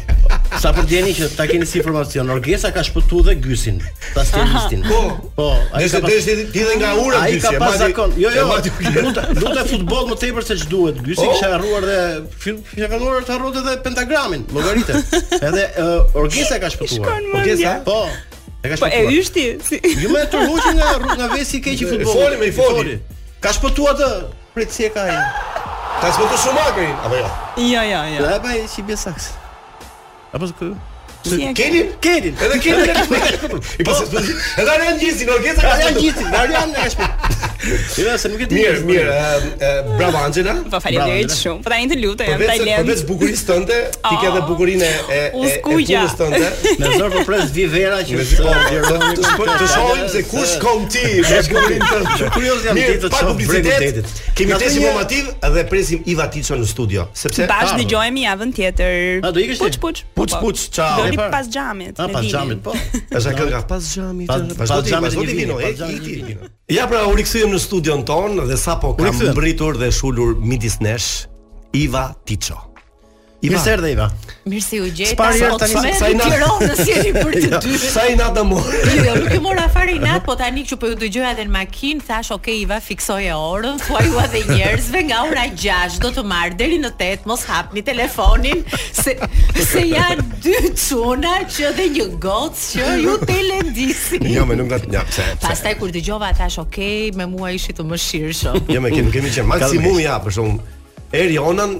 Sa për djeni që ta keni si informacion, Orgesa ka shpëtu dhe Gysin, ta stilistin. Po. po. Nëse pas- deshi ti dhe nga ura Ai ka Gysi, e pas madje- zakon. Jo, e jo. madje u lë. Lutë, lutë futboll më tepër se ç'duhet. Gysi Po. kisha harruar dhe fil- kisha kaluar të harrote edhe pentagramin, llogaritë. Edhe uh, Orgesa ka shpëtuar. Shkon mendja. Po. E ka Po e shpëtuar. Jo, yshti si Ju më tërhuqi nga rrug- nga vesi i keq i futbollit. foli, me i foli. Ka shpëtuar atë prit si e ka ai. Ka zbotu shumë akri, apo jo? Jo, jo, jo. Ja, pa si bie saks. Apo s'ku. Si e ka? Kelin? Kelin. Edhe Kelin e ka shpëtuar. I po pas zbotu. Edhe Arian Gjisi, Orgesa ka Arian shpëtuar. Gjisi, Arian e ka shpëtuar. Jo, se nuk e di. Mirë, mirë. e, e, Bravo Angela. Po faleminderit shumë. Po tani të lutem, jam Përveç tajlen. përveç bukurisë tënde, ti ke edhe bukurinë e e U e- e skugja. punës tënde. Me zor po pres vi vera që Me të zor, vleroni të shpo- të shohim se kush kom ti me bukurinë tënde. Që kurioz jam Mirë, ditë të pa shoh publicitet, bregutetit. Kemi Nga tesim thënje- informativ dhe presim Iva Tiço në studio, sepse Bashkë dëgjojmë javën tjetër. A, do ikësh ti? Puç puç. Puç, po, po. puç, ciao. Doli E parë. pas xhamit. A me pas dilin. xhamit po. Është kënga pas xhamit. Pas- pas Vazhdo ti, xhamit vazhdo i ti vini, vino, pas e xhamit i kiti. vino. Ja pra u rikthyem në studion ton dhe sapo U kam rikthyem. mbritur dhe shulur midis nesh Iva Tiço. Mirë se erdhe Iva. Mirë se u gjeta. S'pari herë sot tani me sa i nat- Tiranës jeni për të dy. Sa i nata morë. Jo, nuk e mora fare i natë, po tani që po ju dëgjoja edhe në makinë, thash, ok, Iva, fiksoje orën, thua ju edhe njerëzve nga ora 6 do të marr deri në 8, mos hapni telefonin, se se janë dy çuna që dhe një gocë që ju televisin. Jo, më nuk nga ja, pse. pse. Pastaj kur dëgjova thash, ok, me mua ishi të Po, mëshirshëm. Jo, më kemi kemi qenë maksimumi ja, për shkakun. Erionën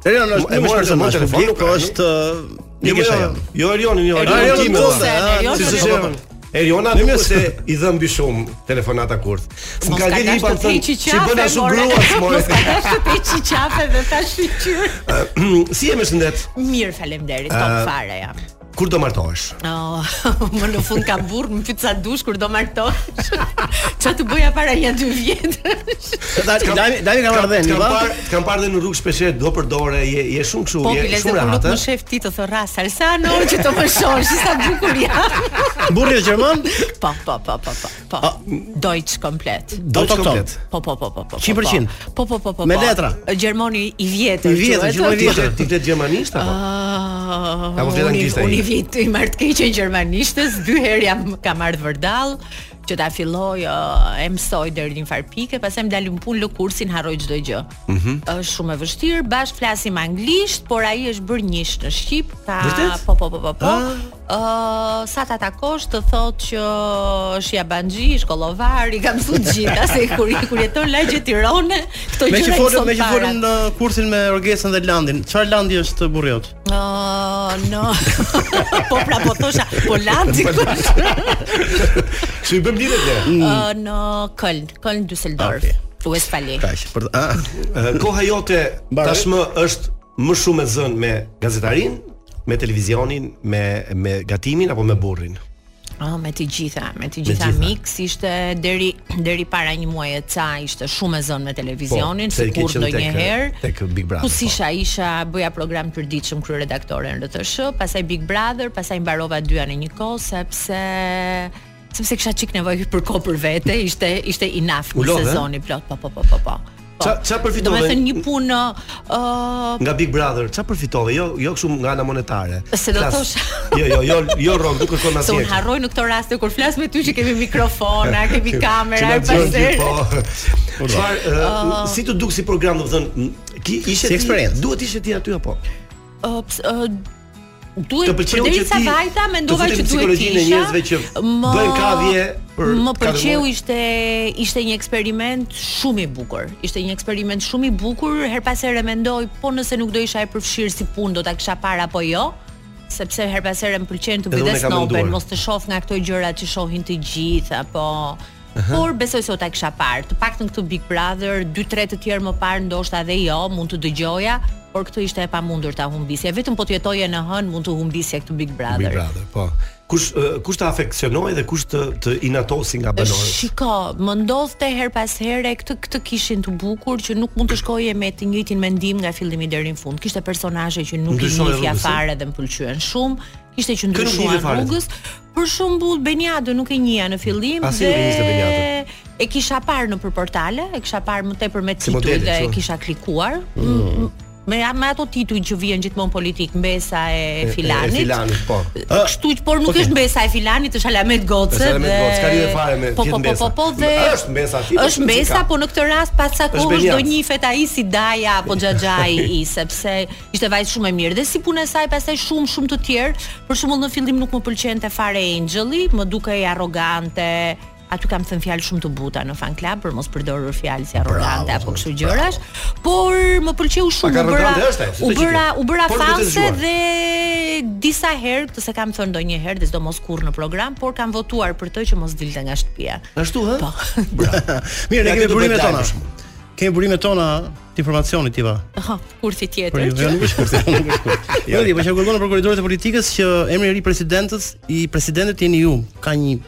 Serion është E nuk është morë personazh telefon, publik, nuk po ka, është Jo, Nikesha jo, jam. jo Erionin, jo Erionin Erionin time, Tusa, valla. e, Erionin Si se Tusa. shemën. Eriona Ne nuk mjës- është se i dhën mbi shumë telefonata kurth. Më Mos ka ka ditë i dashur pan të thënë heqi si qafe, bën ashtu more." gruas more. Mos ka dashur të heqi qafe dhe thash fytyrë. Si e më shëndet? Mirë, faleminderit. Ë, Top fare jam. Kur do martohesh? Oh, më në fund kam burr, më pyet sa dush kur do martohesh. Çfarë të bëja para një dy vjetësh? Dami dami Po, kam ardhen, kam parë, kam parë dhe në rrugë shpesh do për dorë, je je shumë kështu, Po, je bile se shumë kur nuk rahat. eh? më shef ti të thora Salsano që të më shohësh, sa bukur jam. Burri është gjerman? Po, po, po, po, po. po. Deutsch komplet. Deutsch komplet. Po, po, po, po, po. 100%. Po, po, po, po. Me po. letra. Gjermoni i vjetër. I vjetër, quhet. gjermoni i vjetër. Ti flet gjermanisht apo? Ah, Apo flet unë i- anglisht ai? Unë i vit i marr të keqen gjermanishtës, dy herë jam kam ardhur vërdall që ta filloj, uh, e mësoj deri në një farë pike, pastaj më dalim punë lë kursin, harroj çdo gjë. Mhm. Është shumë e vështirë, bashkë flasim anglisht, por ai është bërë njësh në shqip, ta Vërtet? po po po po po. Ah. Ë sa ta takosh të thotë që është jabanxhi, është kollovar, i ka mësuar gjithë, se kur kur jeton lagje Tirane, këto Me që gjëra i folëm, mëson me që parat. folëm në kursin me Orgesën dhe Landin. Çfarë Landi është burri jot? Oh, no. po pra po thosha, po Landi. Kështu i bëm ditët ne. Uh, në Köln, Köln Düsseldorf, Westfalen. Kaq. Për ah. a, Eh, koha jote tashmë është më shumë e zënë me gazetarin, me televizionin, me me gatimin apo me burrin. Po, Ah, me të gjitha, me të gjitha, gjitha. mix ishte deri deri para një muaji e ca ishte shumë e zënë me televizionin, Po, pse i ke sikur qenë tek- ndonjëherë. tek Big Brother, Ku isha, isha bëja program të përditshëm kryeredaktore në RTS, pastaj Big Brother, pastaj mbarova dyja në një kohë sepse sepse kisha çik nevojë për kohë për vete, ishte ishte enough U një lodhe? sezoni plot, po po po po po. Po. Ça- ça përfitove? Domethënë një punë uh, ë Nga Big Brother, çfarë përfitove? Jo, jo kështu nga ana monetare. Se do Klas- thosh. Jo, jo, jo, jo rrok, nuk kërkon Se unë asnjë. harroj në këto raste kur flas me ty që kemi mikrofona, kemi kamera, Që na dëgjojnë pastaj. gjithë, Po. Çfarë Ah. ë, si të duk si program, domethënë, ki Si ishte ti- eksperiencë. Duhet ishte ti aty apo? Ë, ps- ë, Duhet po. Të pëlqeu që derisa ti vajta të mendova futem që duhet psikologjinë e të njerëzve që bëjnë kavje për Më kavë pëlqeu more. ishte ishte një eksperiment shumë i bukur. Ishte një eksperiment shumë i bukur, her pas here mendoj, po nëse nuk do isha e përfshirë si punë, do ta kisha para apo jo? sepse her pas here më pëlqen të Edhe unë e bëj kam snobën, menduar. mos të shoh nga këto gjëra që shohin të gjithë apo Por besoj se o ta kisha parë, të paktën këtë Big Brother, 2-3 të tjerë më parë ndoshta edhe jo, mund të dëgjoja, por këtë ishte e pamundur ta humbisja. Vetëm po të jetoje në hën mund të humbisja këtë Big Brother. Big Brother, po. Kush ë, kush të afeksionoi dhe kush të të inatosi nga banorët? Shiko, më ndodhte her pas here këtë këtë kishin të bukur që nuk mund të shkoje me të njëjtin mendim nga fillimi deri në fund. Kishte personazhe që nuk i Ndryshoj njihja rrugës, fare dhe më pëlqyen shumë. Kishte që Kë nuk njihje ndryshuan fare? rrugës. Për shembull Beniado nuk e njihja në fillim Asnjë nuk e njihte Beniadën. e kisha parë në për portale, e kisha parë më tepër me Si tituj modele, dhe e kështu. kisha klikuar. Mm. Me, me ato tituj që vjen gjithmonë politik, mbesa E- e e- e filanit. Filanit, po. Kështu që por nuk okay. është mbesa e filanit, është Alamet Goce Është Alamet dhe Goce, s'ka lidhje fare me po, gjithë po, po, mbesa. po, po, dhe Është mbesa, ti po Është s'ka. mbesa, po në këtë rast pas sa Është kohësh do Benjat. njihet ai si Daja apo Xhaxhai i, sepse ishte vajzë shumë e mirë dhe si puna e saj pastaj shumë shumë të tjerë. Për shembull në fillim nuk më pëlqente fare Angeli, më dukej arrogante, aty kam thënë fjalë shumë të buta në fan club për mos përdorur fjalë si arrogante apo kështu gjërash, por më pëlqeu Pak shumë u bëra arrogante është ai, s'e u di që bëra kjo. u bëra Por duhet e fanse zgjuar. dhe disa herë, këtë se kam thënë ndonjëherë, dhe sidomos kur në program, por kam votuar për të që mos dilte nga shtëpia. Ashtu ë? Po. Mirë, ne Ja, kemi këtë do burimet bëjt tona. live Kemi burimet tona të informacionit tiva. Aha, kurthi Por tjetër. jo, jo, nuk është kurse, nuk është kurse. Jo, di, po që kërkon në prokurorin e politikës që emri i ri presidentës, i presidentit jeni ju. Ka një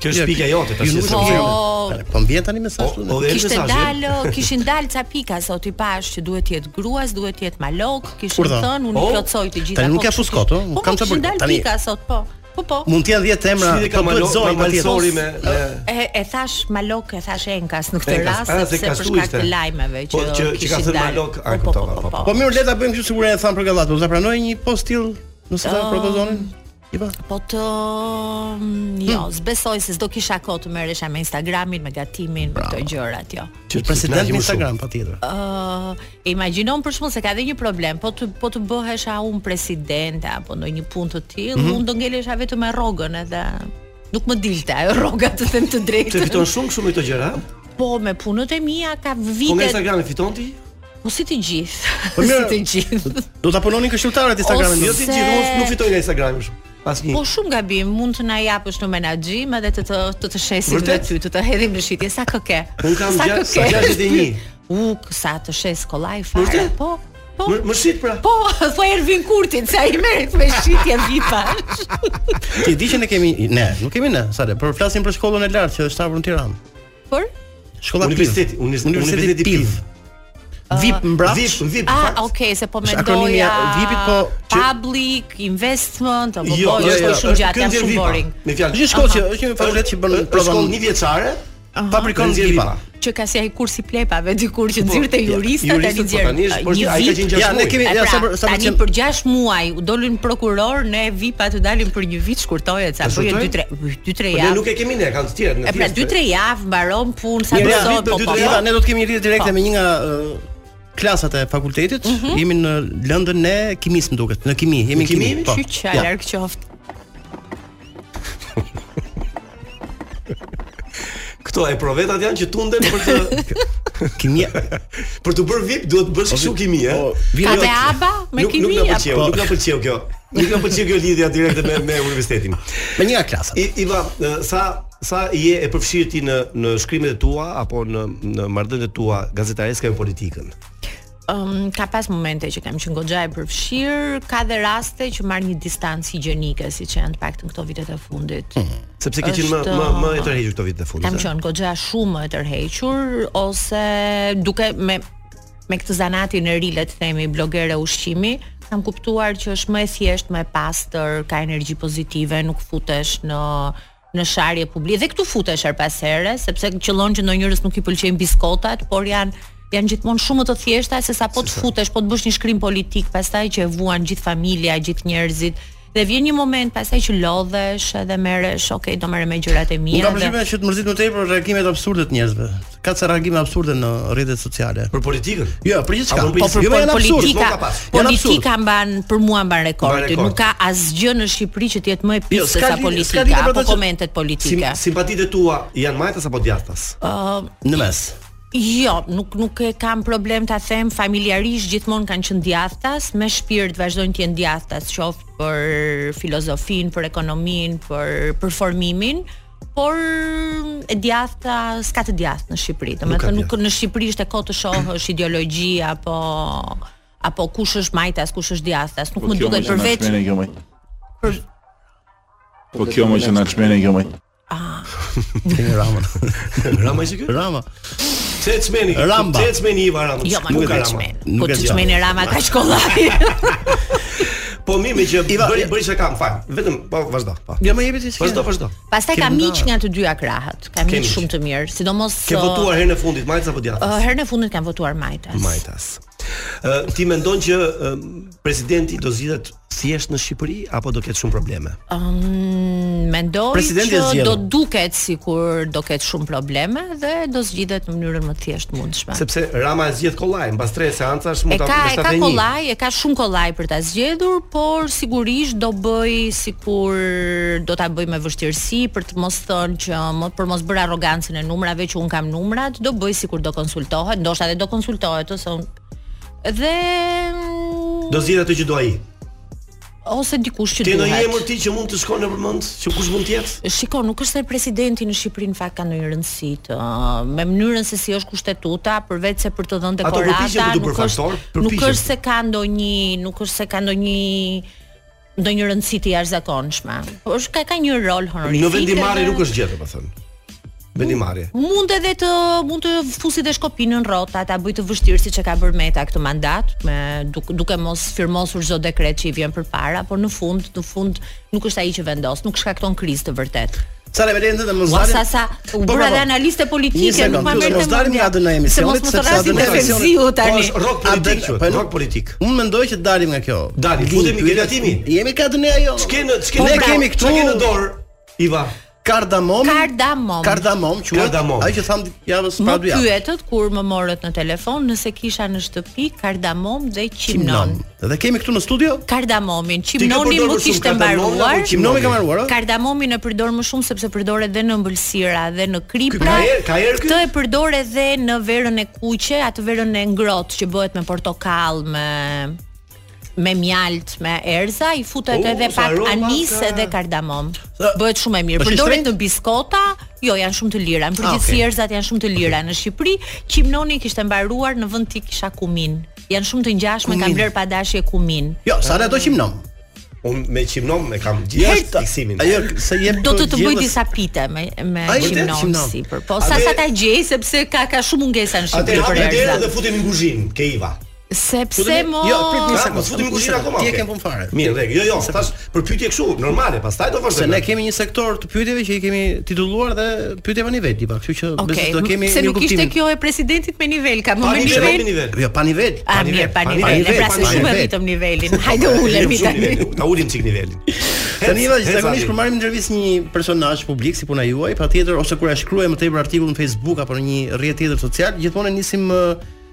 Kjo është pika jote tash. Ju nuk s'e është di. Po- Po mbien tani mesazh. O, o, dhe- Kishte mesazhi. dalë, kishin dalë ca pika sot i pash që duhet të jetë gruas, duhet të jetë malok, kishin Kur tha? thënë unë O, i plotsoj të gjitha. tani nuk po, ja fuskot, ë, Po, kam kam të të bëj. bërë. Tani Tani- pika sot, po. Po po. Mund të jenë 10 emra, Si dhe ka po malo- bëhet zoj ma- malsori me me E, e thash malok, e thash enkas në këtë Enkas, rast, a, se sepse për kastu shkak ishte. të lajmeve që Po, që- që ka kishin thënë dalë. malok, a, Po, po, kuptova, po, po, po. Po mirë, le ta bëjmë kështu sigurisht e tham për gallat, po ta pranoj një post till nëse ta Ëm, propozonin. Po të jo, zbesoj se s'do kisha kohë të merresha me Instagramin, me gatimin, me këto gjërat, jo. Që president në Instagram patjetër. Ah. Ë, e imagjinon për shkakun se ka dhe një problem, po të po të bëhesha un presidente apo ndonjë punë të tillë, Mhm. unë do ngelesha vetëm me rrogën edhe nuk më dilte ajo rroga të them të drejtën. Të fiton shumë shumë këto gjëra. ha? Po me punët e mia ka Po nga vite. Instagrami fiton ti? Po si të gjithë. Po si mirë. të gjithë. Do ta punonin këshilltarët Instagramin. Ose- Jo ti gjithë, unë nuk fitoj nga Instagrami shumë. Asnjë. Po shumë gabim, mund të na japësh në menaxhim edhe të të të, të shesim Vërtet? dhe ty, të të hedhim në shitje sa kë ke. Unë kam Sa gjak- kë ke? 61. U, sa të shes kollaj fare. Po. Po, po. Më, më shit pra. Po, thua Ervin Kurtin se ai merret me shitje vipash. Ti di që ne kemi ne, nuk kemi ne, sa le, por flasim për shkollën e lartë që është hapur në Tiranë. Por Shkolla Piv. Universiteti, unis- Universiteti Piv. VIP mbrapsht. VIP, VIP. Ah, okay, se po Është akronimia mendoja. e VIP-it, po që- public investment apo po, jo, është është shumë gjatë, jam këngë shumë vipa, boring. Me fjalë. Është një shkollë që është një fakultet që bën Është shkollë një vjeçare, fabrikon Këngë vipa. që ka si ai kursi plepave dikur që Po, nxirrte ja, jurista juristët, tani Ah, po, nxjerr. tani është- po, është- ai ka qenë gjashtë Ja, ne kemi- ja, sa sa për- sa për pra, tani qenë- për 6 muaj u dolën prokuror, ne vipa të dalim për një vit shkurtohet sa po jo, E bëjë shkurtoi? 2-3 2-3 Po ne nuk javë. e kemi ne, kanë të tjerë në E pra pjesë. 2-3 javë mbaron punë sa Mirë, do ja, sot po po po. Iva, ne do të kemi një lidhje direkte Po. me një nga ë, klasat e fakultetit. Mhm. Jemi në lëndën e kimis më duket, në kimi, jemi në Në kimi. kimi? po. Qyç, a Ja. larg qoftë. Këto e provetat janë që tunden për të kimia. për të bërë VIP duhet të bësh kështu kimi, ë. Ka me aba, me jo, Nuk- kimi. Nuk na apo- pëlqeu, nuk na pëlqeu kjo. Nuk na pëlqeu kjo lidhja direkte me me universitetin. Me një nga klasat. I, Iva, ë, sa sa je e përfshirë ti në në shkrimet e tua apo në në marrëdhëniet e tua gazetareske me politikën? Um, ka pas momente që kam qenë goxha e përfshirë, ka dhe raste që marr një distancë higjienike, siç janë të paktën këto vitet e fundit. Sepse ke qenë më Është- më më e tërhequr këto vite të fundit. eh. Kam ë. qenë goxha shumë më e tërhequr ose duke me me këtë zanatin e rile të themi blogere ushqimi, kam kuptuar që është më e thjeshtë, më e pastër, ka energji pozitive, nuk futesh në në sharje publike dhe këtu futesh her pas here, sepse qëllon që ndonjëherës nuk i pëlqejnë biskotat, por janë janë gjithmonë shumë më të thjeshta se sa po të futesh, po të bësh një shkrim politik, pastaj që e vuan gjithë familja, gjithë njerëzit. Dhe vjen një moment pastaj që lodhesh edhe merresh, okay, do merrem me gjërat e Unë mia. kam dhe- përshtypjen që të mërzit më tepër reagimet absurde të njerëzve. Ka ca reagime absurde në rrjetet sociale. Për politikën? Jo, për gjithçka. Apo për Po, politikën? jo, Po, janë absurd, politika, nuk ka pas. Janë absurd. politika mban për mua mban Mban rekord. rekord. Nuk ka asgjë në Shqipëri që të jetë më e Jo, pisë se s'ka sa lidhje- s'ka politika lidhje për apo ato që- komentet politike. Sim, simpatitë tua janë majtas apo djathtas? Ë, Në mes. Jo, nuk nuk e kam problem ta them familjarisht gjithmonë kanë qenë djathtas, me shpirt vazhdojnë të jenë djathtas, qoftë për filozofinë, për ekonominë, për për formimin, por e djathta s'ka të djathtë në Shqipëri. Nuk ka Domethënë nuk në Shqipëri është e kohë të shohësh ideologji apo apo kush është majtas, kush është djathtas. Nuk Po më kjo duket më që na përveç shmene kjo, maj. Për- Po kjo më që na çmene kjo më. Kemi Ramën. Rama ishte ky? Rama. Pse e çmeni? Ramba. Pse e çmeni Iva Rama? Jo, ma Ku nuk ka e Rama? çmen. Nuk Po e ti çmen. çmeni Rama ka shkollaj. Po mi me që Iva, bëri bëri shaka, më fal. Vetëm po vazhdo. po. Ja më jepi ti. s'ke. Vazhdo, vazhdo. Pastaj Ke kam nda- miq nga të dyja krahët. Kam Ke miq miq. shumë të mirë, sidomos Ke ë, votuar herën e fundit, majtas apo djathtas? ë, herën e fundit kanë votuar majtas. Majtas. Ë ti mendon që ë, presidenti do zgjidhet thjesht në Shqipëri apo do ketë shumë probleme? Um, mendoj Presidenti e që zgjedhur. do duket sikur do ketë shumë probleme dhe do zgjidhet në mënyrën më të thjeshtë mundshme. Sepse Rama e zgjidh kollaj, mbas tre seancash E mund ta ka e mbështetë ka një. kollaj, e ka shumë kollaj për ta zgjedhur, por sigurisht do bëj sikur do ta bëj me vështirësi për të mos thënë që më, për mos bërë arrogancën e numrave që un kam numrat, do bëj sikur do konsultohet, ndoshta edhe do konsultohet ose un dhe mm, Do zgjidh atë që do ai. ose dikush që Ti në një emër duhet. ti që mund të shkon në përmend, që kush mund të jetë? Shiko, nuk është se presidenti në Shqipëri në fakt ka ndonjë rëndësi të uh, me mënyrën se si është kushtetuta, përveç se për të dhënë Ato përpiqen të dekorata, du nuk për është faktor, nuk përpiqen. është se ka ndonjë, nuk është se ka ndonjë ndonjë rëndësi të jashtëzakonshme. Po është ka ka një rol honorifik. Në vendimarrje edhe- nuk është po gjë, domethënë. Vendimarrje. Mund edhe të mund të fusi dhe Shkopinë në rrota, ta bëj të vështirë siç e ka bërë Meta këtë mandat, me duk, duke mos firmosur çdo dekret që i vjen përpara, por në fund, në fund nuk është ai që vendos, nuk shkakton krizë të vërtetë. Sa le velente dhe mos Ua, dalim. sa sa u Po, po, bëra po. dhe analiste Një politike, sekundë, nuk ma merrte mos dalim mendja. nga dëna e emisionit se mos më të adëna rrasin e me emisionit- veziu Po tani. është rok A politik, dhe- quhet, po, nuk- rok politik. Unë mendoj që dalim nga kjo. Dalim, Linjë, futemi pyetja- gatimi. Jemi ka dënë ajo. Ç'ke në ç'ke Ne në- kemi ç'ke këtu- në dorë, Iva. Kardamom. Kardamom. Kardamom quhet. Kardamom. Ai që tham javës Më para dy javë. pyetët kur më morët në telefon nëse kisha në shtëpi kardamom dhe Kimnon. qimnon. Dhe kemi këtu në studio Kardamomin, Ti qimnonin ke përdorur më shumë kishte kardamomin apo mbaruar. qimnonin? Qimnonin ka mbaruar, a? Kardamomin e përdor më shumë sepse përdoret edhe në ëmbëlsira dhe në kripra. Ka erë- ka erë ky? Këtë e përdor edhe në verën e kuqe, atë verën e ngrohtë që bëhet me portokall, me me mjalt, me erza, i futet Oh, edhe sa pak aroma anis ka. edhe kardamom. Sa- Bëhet shumë e mirë. Është i Përdoret shtrenjtë? në biskota, jo, janë shumë të Ah, lira. Në përgjithësi okay. erzat janë shumë të lira në Shqipëri. Qimnoni kishte mbaruar në vend ti kisha kumin. janë shumë të ngjashme, kanë vlerë padashje kumin. Jo, sa ne do qimnom. Unë me qimnom e kam gjithë Jo, fiksimin. Ajo se jep Do të të bëj disa pite me me A, vërtet? qimnon Qimnon. sipër. Po A, sa dhe- sa ta gjej sepse ka ka shumë mungesa në Atë Shqipëri për hapë derën erza. dhe futin në kuzhinë, ke Iva. Sepse mo Jo, prit një Ah, sekond. mos futim në kuzhinë akoma. Ti e okay. ke pun fare. Mirë, rregull. Jo, jo, Se- tash për pyetje kështu, normale, pastaj do Se vazhdojmë. ne kemi një sektor të pyetjeve që i kemi titulluar dhe pyetje me nivel, tipa, kështu që besoj Okej, do kemi se një nuk ishte kuptim. kjo e presidentit me nivel, ka më me nivel, nivel. Jo, pa nivel. A mirë, pa nivel, e pra se shumë e rritëm nivelin. Hajde ulem mi tani. Ta ulim çik nivelin. Tani valla Hec, zakonisht hec, kur marrim në intervistë një personazh publik si puna juaj, patjetër ose kur e shkruajmë më tepër artikull në Facebook apo në një rrjet tjetër social, gjithmonë e nisim ë,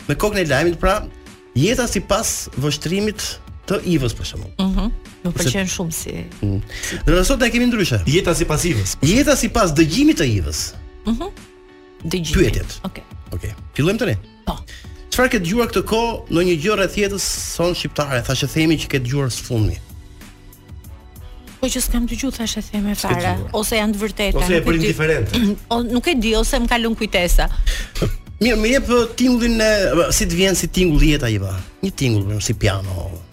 me kokën e lajmit, pra jeta sipas vështrimit të Ivës për shembull. Mhm. Më Se- pëlqen shumë si. Dhe sot ne kemi ndryshe. Jeta sipas Ivës. Jeta sipas dëgjimit të Ivës. Mhm. Dëgjim. Pyetjet. Okej. Okej. Fillojmë tani. Po. Çfarë ke dëgjuar këtë kohë në një gjë rreth jetës son shqiptare? Thashë themi që ke dëgjuar sfundmi. Po që s'kam dëgju thashë theme fare, dëgjuar. ose janë të vërteta. Ose e nuk bërin di. diferente. O nuk e di ose më ka lënë kujtesa. Mirë, më jep ë, tingullin e ë, si të vjen si tingulli jeta jeva. Një tingull, më si piano.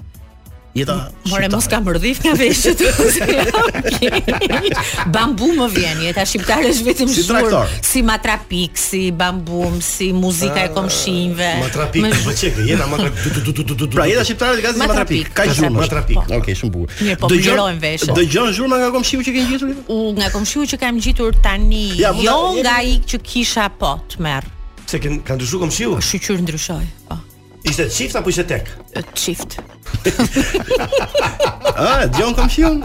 Jeta More mos kam mërdhif nga veshët. ose jam- bambu më vjen, jeta shqiptare është vetëm Si shur, traktor. Ah, si matrapik, si bambum, si muzika e komshinjve. Matrapik, Më- po çek, jeta matrapik. du, du, du, du, du, du, du. Pra jeta shqiptare ka zë matrapik, ka gjurmë. Matrapik. Okej, shumë bukur. Mirë, po Dëgjon- mirojnë veshët. Dëgjon zhurma nga komshiu që ke ngjitur? U nga komshiu që kam gjitur tani, Ja, mund ta- jo jemi- nga i që kisha po të merr. Se kanë kanë ndryshuar komshiu? Shqyr ndryshoi. Po. Ishte çift apo ishte tek? Çift. Ah, dëgjon komshiun?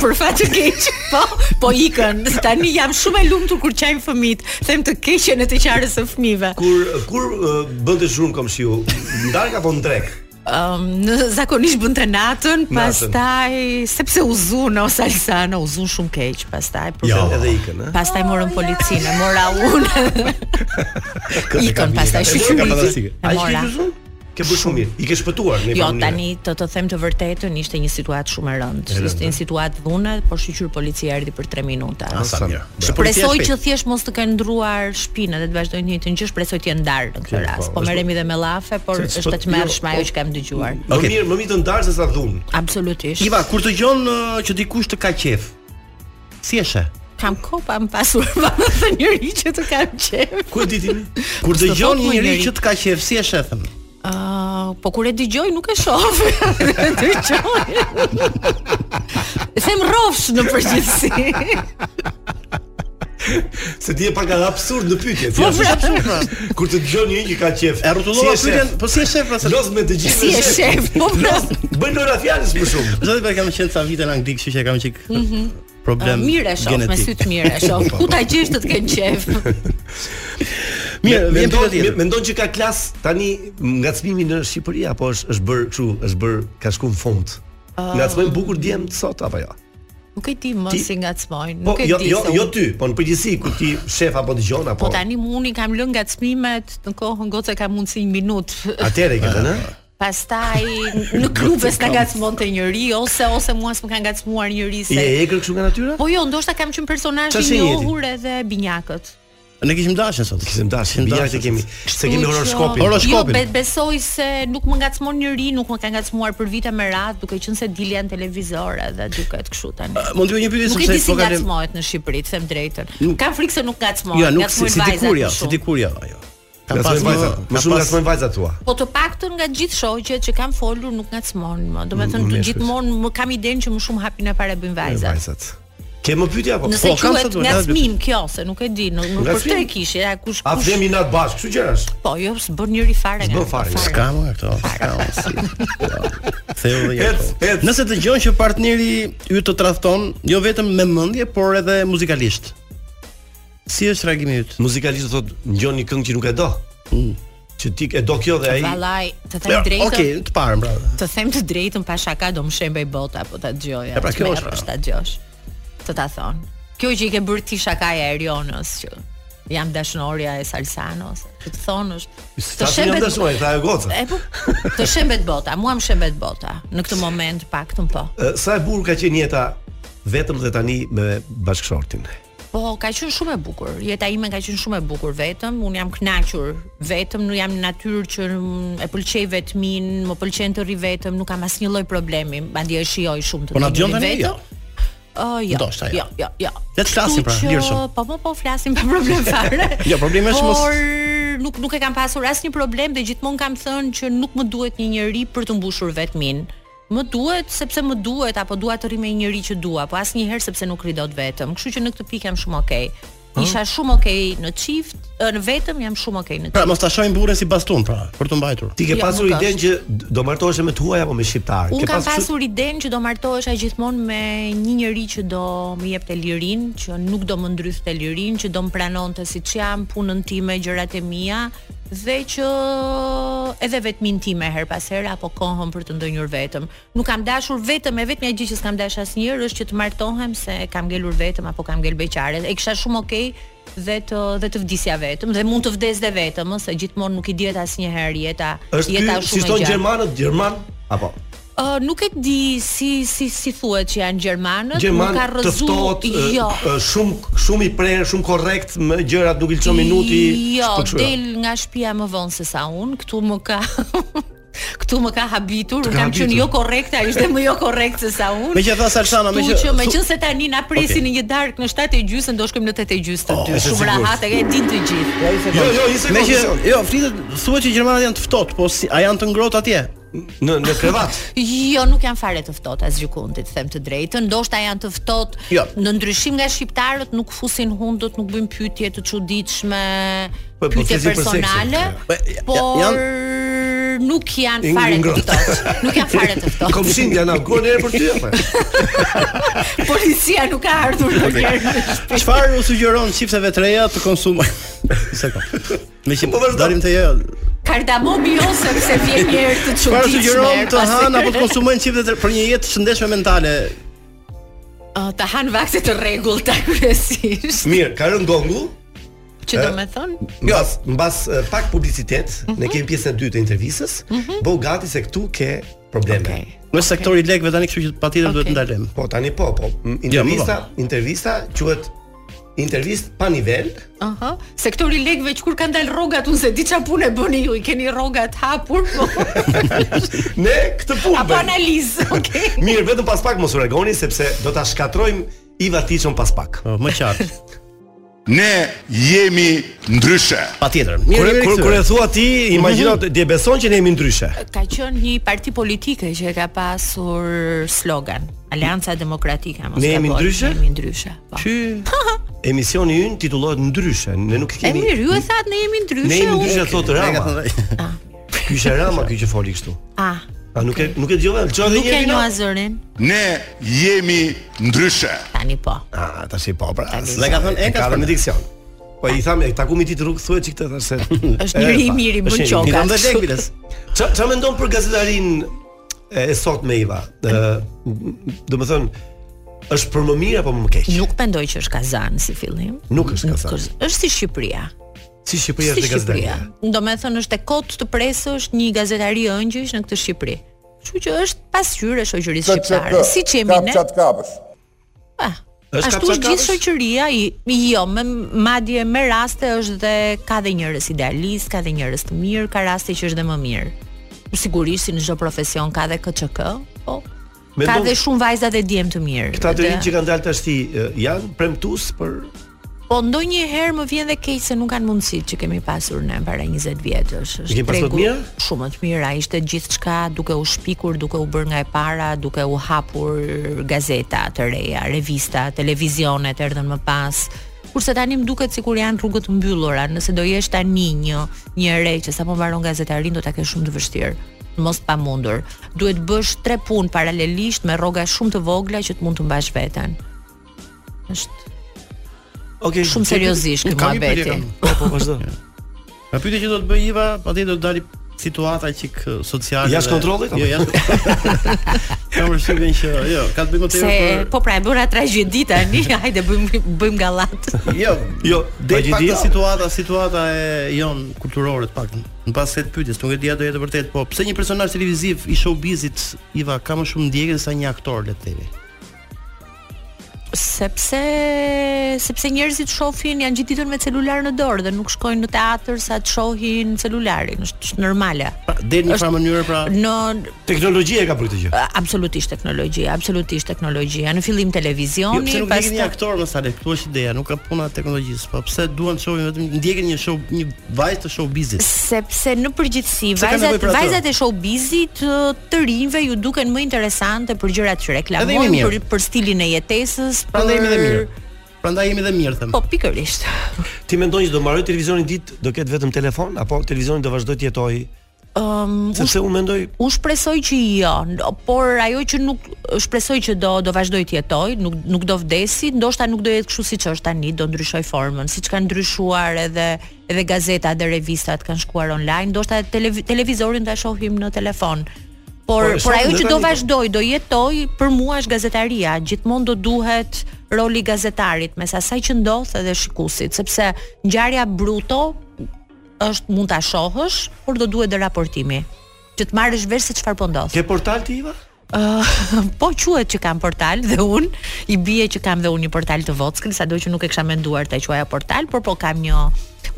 Për fat të keq. Po, po ikën. Tani jam shumë e lumtur kur qajm fëmit. Them të keqen e të qarës së fëmijëve. Kur kur uh, bënte zhurmë komshiu, ndark apo ndrek? Ëm Ehm, në zakonisht bën të natën, pastaj sepse u zunë ose Alsana u zun shumë keq, pastaj për Jo, edhe ikën, ë? Pastaj morën policinë, mora unë. Ikën pastaj shqyqyri. Ai shkoi zhurmë? Ke bërë shumë mirë. I ke shpëtuar në një Jo, mënyrë. tani të të them të vërtetën, ishte një situatë shumë e rëndë. E rëndë, Ishte një situatë dhunë, por shqyr policia erdhi për 3 minuta. Ah, sa mirë. Shpresoj që thjesht mos të kenë ndruar shpinën dhe të vazhdojnë një të njëjtën gjë, shpresoj të jenë ndarë në këtë Okej, rast. po, Po është- merremi edhe me llafe, por Se- është po- të tmerrshme jo, ajo po- që kam dëgjuar. Më mirë, më mirë të ndarë se sa dhunë. Absolutisht. Iva, kur dëgjon ë, që dikush të ka qef. Si e sheh? Kam kohë pa më pasur pa më thënë njëri që të kam qef. Ku e diti? Kur S'të dëgjon thot një më njerëz njeri. që të ka qef, si e sheh them? Ah, po kur e dëgjoj nuk e shoh. dëgjoj. Them rrofsh në përgjithësi. Se ti je pak absurd në pyetje. Po, pra. Kur të dëgjon një që ka qef. E rrotullova si e shef? pyetjen, po si e sheh pra se Los me dëgjim. Si e shef, po, pra. Bëj Lora fjalës më shumë. Zoti për kam qenë sa vite në Angli, kështu që e kam qik problem. Ah, Mirë e shoh, me sy të mirë e shoh. Ku ta gjesh të të kenë qef? Mirë, Me- vjen mendon- pyetja tjetër. me- Mendon që ka klas tani ngacmimi në Shqipëri apo është është bër kështu, është bër ka shku në fund. Ah. Ngacmojmë bukur djem sot apo jo? Nuk e di më Ti- si ngacmojnë, Po nuk e jo di. jo se jo unë- ty, po në përgjithësi kur ti shef apo dëgjon apo. Po tani mu unë i kam lënë ngacmimet në kohën gocë ka mundsi një minutë. Atëre ke thënë, Ah. ë? Pastaj në klube s'na ngacmonte njëri ose ose mua s'm ka ngacmuar njëri se. Je egër kështu nga natyra? Po jo, ndoshta kam qenë personazh Qa i si jeti? njohur edhe binjakët. Ne kishim dashje sot. Kishim dashje, bija që kemi, se kemi Kështu që- horoskopin. Jo, be- besoj se nuk më ngacmon njëri, nuk më ka ngacmuar për vite me radhë, duke qenë se dilja në televizor edhe duket kështu tani. mund të bëj një pyetje Nuk e sepse di po si kalem- ngacmohet në Shqipëri, të them drejtën. Nuk- Kam frikë se nuk ngacmohet, Jo, nuk si, ngacmojnë si dikur vajzat jo, më si shumë. dikur jo ajo. Ka pas Ngacmojnë një- vajzat, ka më shumë pas- ngacmojnë vajzat tua. Po të paktën nga gjithë shoqjet që kam folur nuk ngacmon më. Do me M- thënë me të shpesh. gjithmonë më kam idenë që më shumë hapin e para bëjnë vajzat. Vajzat. Ke më pyetje apo? Po, Nëse Po, kam sa quhet duhet, edhe ngacmim kjo se nuk e di, nuk nuk për Ngacmim? tre kishë, ja kush A kush. flemi nat bashkë, kështu gjërash. Po jo, s'bën njëri fare nga. S'bën fare. S'ka më nga këto. s'ka më, si. Theu dhe jetë. Nëse dëgjon që partneri yt të tradhton, jo vetëm me mendje, por edhe muzikalisht. Si është reagimi yt? Muzikalisht do thotë ngjon një këngë që nuk e do. Mm. Që ti e do kjo dhe ai. Vallaj, të them Ja, drejtën. okej, të parën pra. Të them të drejtën pa shaka do më shembej bota apo ta dëgjoja. E pra, kjo është, Merresh ta dëgjosh. Të ta thon. Kjo që i ke bërë ti shakaja e Erionës që jam dashnorja e Salsanos. Që të thon është Të shembet. Të shembet. Tha ajo goca. E po, të shembet bota, mua më shembet bota në këtë moment paktën po. Ë, Sa e burr ka qenë jeta vetëm dhe tani me bashkëshortin. Po, ka qenë shumë e bukur. Jeta ime ka qenë shumë e bukur vetëm. Un jam kënaqur vetëm, nuk jam në natyrë që mm, e pëlqej vetmin, më pëlqen të rri vetëm, nuk kam asnjë lloj problemi. Madje e shijoj shumë të Po na të dëgjon rri tani jo. Ë, jo. Ndoshta jo. Jo, jo, jo. Le të flasim Kështu pra, që, lirshëm. Po, po, po flasim pa problem fare. Jo, problemi është mos- Por nuk nuk e kam pasur asnjë problem dhe gjithmonë kam thënë që nuk më duhet një njeri për të mbushur vetmin. Më duhet sepse më duhet apo dua të rri me një njeri që dua, po asnjëherë sepse nuk rri dot vetëm. Kështu që në këtë pikë jam shumë okay. Ëh. Isha shumë okay në çift, ë, në vetëm jam shumë okay në Pra mos ta shohim burrin si bastun pra, për të mbajtur. Ti ke Jo, pasur nuk është. idenë që do martohesh me tuaj apo me shqiptar? Unë Ke kam pasur idenë që do martohesha gjithmonë me një njeri që do më jepte lirinë, që nuk do më ndrythte lirinë, që do më pranonte siç jam, punën time, gjërat e mia dhe që edhe vetmin time her pas here apo kohën për të ndonjur vetëm. Nuk kam dashur vetëm, e vetmja gjë që s'kam dashur asnjëherë është që të martohem se kam ngelur vetëm apo kam ngel beqare. E kisha shumë okay dhe të dhe të vdisja vetëm dhe mund të vdes dhe vetëm, ëh, se gjithmonë nuk i dihet asnjëherë jeta. Është jeta ky është si shumë e thon gjatë. gjermanët, gjerman apo? Uh, nuk e di si si si thuhet që janë gjermanët, Gjerman nuk ka të rrezu. ftohtë, ë, jo. ë, shumë shumë i prerë, shumë korrekt, më gjërat nuk i lçon minuti. Jo, kështu që. del nga shtëpia më vonë se sa unë, këtu më ka këtu më ka habitur, Të unë ka kam qenë habitur. jo korrekt, ai ishte më jo korrekt se sa unë. Megjithatë, Salsana, Jo, me megjithë- që me thu- qenë se tani na presin në një darkë në 7 e gjysmë, do shkojmë në 8 e gjysmë të është dy. e Shumë sigurt. rahat, e din të gjithë. Jo, jo, një sekondë, Me që, një sekondë. jo, flitet thuhet që gjermanët janë të ftohtë, po si, a janë të ngrohtë atje? Në në krevat. Jo, nuk janë fare të ftohtë as gjykundit, them të drejtën. Ndoshta janë të ftohtë Jo. në ndryshim nga shqiptarët, nuk fusin hundët, nuk bëjnë pyetje të çuditshme, Po, po, pyetje flisim për personale, seksin. Po, por ja- janë- nuk janë Ing- fare të ngrohtë. ftohtë. Nuk janë fare të ftohtë. Komshin janë kur herë për ty apo? Policia nuk ka ardhur ndonjëherë. në shtëpi. Çfarë u sugjeron çifteve të reja të konsumojnë? Sekond. Me Po, që dalim te jo. Kardamomi jo sepse vjen një herë të çuditshme. Çfarë sugjeron të pasi- hanë apo të konsumojnë çiftet për një jetë të shëndetshme mentale? Ë, Oh, të hanë vakte të rregullta kryesisht. Mirë, ka rënë gongu. Që do Ë, me thonë, Mbas, mbas e, pak publicitet, Mhm. ne kemi pjesën e dytë të intervistës. Bëu gati se këtu ke probleme. Në sektori lekëve tani kështu që patjetër duhet ndalem. Po tani po, po. M- Intervista, intervista quhet intervistë pa nivel. Aha, sektori lekëve që kur kanë dalë rrogat, unë se di çfarë punë e bëni ju, i keni rrogat hapur, po Ne këtë punë apo bëjmë. analizë, okay. Mirë, vetëm pas pak mos u regoni sepse do ta shkatrojmë Iva Tiçën pas pak. Po, më qartë. Ne jemi ndryshe. Patjetër. Kur mirë, kur këthyre. kur e thua ti, imagjino Mhm. ti e beson që ne jemi ndryshe. Ka qenë një parti politike që e ka pasur slogan, Alianca Demokratike, mos Ne ka jemi bërë, ndryshe? Ne jemi ndryshe. po. Ky emisioni ynë titullohet ndryshe. Ne nuk E kemi mirë, ju e thatë ne jemi ndryshe. Ne jemi unë- ndryshe thotë Rama. Ky ishte Rama ky që foli kështu. Ah, A nuk e nuk e dëgjova? Çfarë nuk një e herë njoha Vino? zërin. Ne jemi ndryshe. Tani po. Ah, tash i po pra. Dhe ka thënë Eka, ka s'po. thënë diksion. Po i tham, e takumi ti të rrugë thuhet çik të thash se. Është njëri i mirë, i bën qoka. I kam dhe lek, biles. Ç'a ç'a mendon për gazetarin e e sot me Iva? Ë, do të thënë është për më mirë apo më keq? Nuk mendoj që është Kazan si fillim. Nuk është ka thënë. Është si Shqipëria. Si Shqipëria është e gazetaria. Do me thënë është e kotë të presësh një gazetari ëngjësh në këtë Shqipëri. Kështu që është pasqyrë e shoqërisë shqiptare. Si që jemi ne? kapës. Është Ashtu është gjithë kapçakavës? shoqëria i jo, me madje me raste është dhe ka dhe njerëz idealist, ka dhe njerëz të mirë, ka raste që është dhe më mirë. Sigurisht si në çdo profesion ka dhe KÇK, po. ka Mendon- dhe shumë vajza dhe djem të mirë. Këta të Dhe- rinj që kanë dalë tash ti ë, janë premtues për Po ndonjëherë më vjen dhe keq se nuk kanë mundësitë që kemi pasur ne para 20 vjetësh. Është Kemi pasur të tregu mira? Shumë më të mira, ishte gjithçka duke u shpikur, duke u bërë nga e para, duke u hapur gazeta të reja, revista, televizionet erdhën më pas. Kurse tani më duket sikur janë rrugët mbyllura, nëse do jesh tani një një re që sapo mbaron gazetarin do ta kesh shumë të vështirë mos të pamundur. Duhet bësh tre punë paralelisht me rroga shumë të vogla që të mund të mbash veten. Është Okej. Shumë seriozisht ky Kam një muhabeti. pyetje, kam. Po, po, vazhdo. Ka pyetje që do të bëj Iva, patjetër do të dali situata çik eh, sociale. Jashtë dhe- kontrollit, apo? Jo, jashtë. Kam përshtypjen që jo, ka të bëjë më tepër. Se për- po pra e bëra tragjedi tani, hajde bëjmë bëjmë gallat. Jo, jo, Del pak tragjedia. të situata, situata e jon kulturore të paktën. Në pas këtë pyetjes, nuk e di a do jetë vërtet, po pse një personazh televiziv i showbizit Iva ka më shumë ndjekje se sa një aktor le të themi? sepse sepse njerëzit shohin janë gjithë ditën me celular në dorë dhe nuk shkojnë në teatr sa të shohin celularin, është është normale. Del në farë mënyrë pra. Në teknologjia ka për këtë Ah. gjë. Absolutisht teknologjia, absolutisht teknologjia. Në fillim Jo, televizioni, pse nuk ndjekin një pastaj- aktor më sale, këtu është ideja, nuk ka puna e teknologjisë, po pse duan të shohin vetëm ndjekin një show, një vajzë të showbizit. sepse në përgjithësi Pse ka nevojë vajzat për atë? vajzat e showbizit të- të rinjve ju duken më interesante për gjërat që Edhe jemi reklamojnë, mirë. për për stilin e jetesës, për Prandaj jemi dhe mirë. Prandaj jemi dhe mirë them. Po pikërisht. Ti mendon që do mbaroj televizionin ditë, do ketë vetëm telefon apo televizioni do vazhdoj të jetojë? Ëm Sepse unë mendoj Um, Unë shpresoj që jo, n- por ajo që nuk shpresoj që do do vazhdoj të jetoj, nuk nuk do vdesi, ndoshta nuk do jetë kështu siç është tani, do ndryshoj formën, siç kanë ndryshuar edhe edhe gazetat dhe revistat kanë shkuar online, ndoshta televi- televizorin ta shohim në telefon. Por Po, e por ajo shohim që dhe tani, do po. vazhdoj, do jetoj, për mua është gazetaria, gjithmonë do duhet roli i gazetarit mes asaj që ndodh edhe shikuesit, sepse ngjarja bruto është mund ta shohësh, por do duhet dhe raportimi që të marrësh vesh se çfarë po ndodh. Ke portal ti Iva? Uh, po quhet që kam portal dhe un i bie që kam dhe un një portal të vockël, sado që nuk e kisha menduar ta quaja portal, por po kam një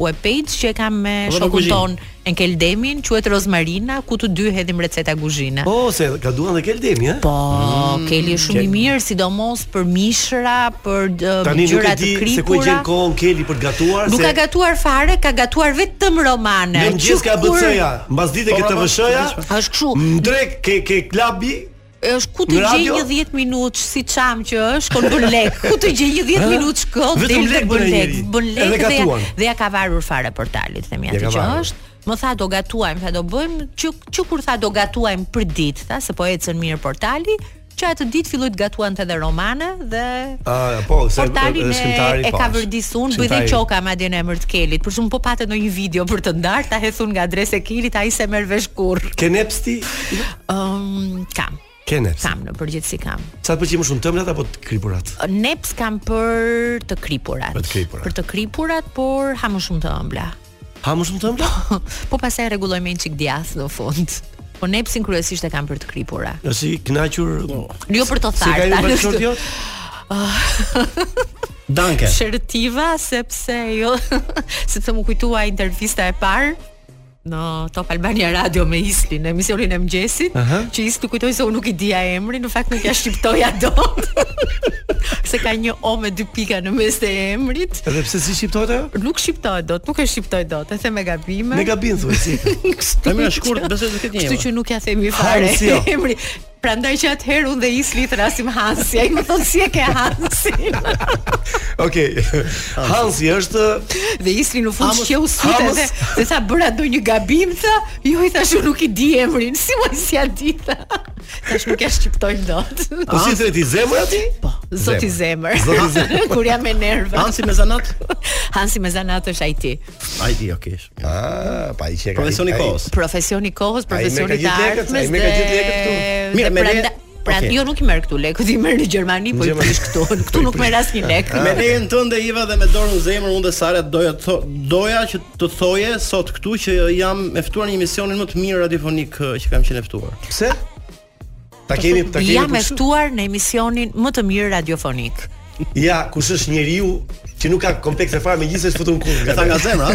web page që e kam me Po, dhe për shokun kuzhinë. ton Enkel Demin, quhet Rozmarina, ku të dy hedhim receta kuzhine. Po, se ka duan dhe eh? kel demi, ha? Po, Keli është shumë i mirë, sidomos për mishra, për uh, Tani nuk e gjëra di të se ku e kripura. gjen kohën Keli për të gatuar Nuk se ka gatuar fare, ka gatuar vetëm romane. Në mëngjes Që Jo, ka kur- ABC-ja, mbas dite ke TVSH-ja. Është kështu. Ndrek ke ke klabi. është ku të Në gjej radio? një 10 minutë si çam që është, kon bën lek. Ku të gjej një 10 Ha? minutë shkoll, Vetëm del lek bën të bën ai lek, njeri. bën lek Edhe dhe ja, gatuan. dhe ja ka varur fare portalit, themi Ja atë ka që varur. është. Më tha do gatuajmë, tha do bëjmë që që kur tha do gatuajmë për ditë, tha se po ecën mirë portali, që atë ditë filloi të gatuante edhe romane dhe Ah, po, se portalin edhe shkrimtari, e, e po, ka është. vërdisuar, bëj dhe Shkrimtari. qoka madje në emër të Kelit. Për shumë po patet ndonjë video për të ndarë, ta hethun nga adresa e Kelit, ai se merr vesh kurrë. Ke nepsti? Ëm kam. Ke neps. Kam në përgjithësi kam. Sa të pëlqej më shumë tëmblat apo të kripurat? Neps kam për të kripurat. Për të kripurat. Për të kripurat, por ha më shumë të ëmbla. Ha më shumë tëmbla? po pastaj rregulloj me një çik djath në fund. Po nepsin kryesisht e kam për të kripura. Është i kënaqur. Jo për të Si tharë. ka një jo? tani bashkëshort kështu. jot? Danke. Shërtiva sepse jo sepse më kujtua intervista e parë në Top Albania Radio me Islin, në emisionin e mëngjesit, Aha. që Isli kujtoi se unë nuk i dija emrin, në fakt nuk ja shqiptoja dot. se ka një o me dy pika në mes të emrit. Edhe pse si shqiptohet ajo? Nuk shqiptohet dot, nuk e shqiptoj dot, e them me gabime. Me gabim thuaj si. Kështu Emra që- shkurt, besoj se këtë një Kështu emër. që nuk ja themi fare Hansio. emri. Prandaj që atëherë unë dhe Isli thrasim Hansi, ai më thon si e ke Hansin. Okej. Hansi është Dhe Isli në fund Hamos- shqeu sytë Hamos- dhe dhe tha bëra ndonjë gabim tha, jo i thash unë nuk i di emrin, si mos si ja di tha. Tash nuk e shqiptoj dot. Po si thret i zemër aty? Po, zoti zemër. Zoti zemër. Kur jam me nerva. Hansi me zanat? Hansi me zanat është IT. Ai di, okay. Ah, pa i çeka. Profesioni kohës. Profesioni Ai me kohës, ka profesioni gjithë të lekët, artmes. ai me ka dhe- gjithë lekët këtu. dhe Mirë, me le- pranda- Pra, Okej. jo nuk i merr këtu lekët, i merr në Gjermani, po i Gjermani. prish këtu. Këtu nuk merr asnjë lek. Me lejen tënde Iva dhe me dorën në zemër unë dhe Sara doja të tho- doja që të thoje sot këtu që jam e ftuar në një emisionin më të mirë radiofonik ë, që kam qenë e ftuar. Pse? Ta kemi, ta kemi. Jam për e kështu? ftuar në emisionin më të mirë radiofonik. Ja, kush është njeriu që nuk ka komplekse fare me gjithsesi futun kur. E tha nga zemra.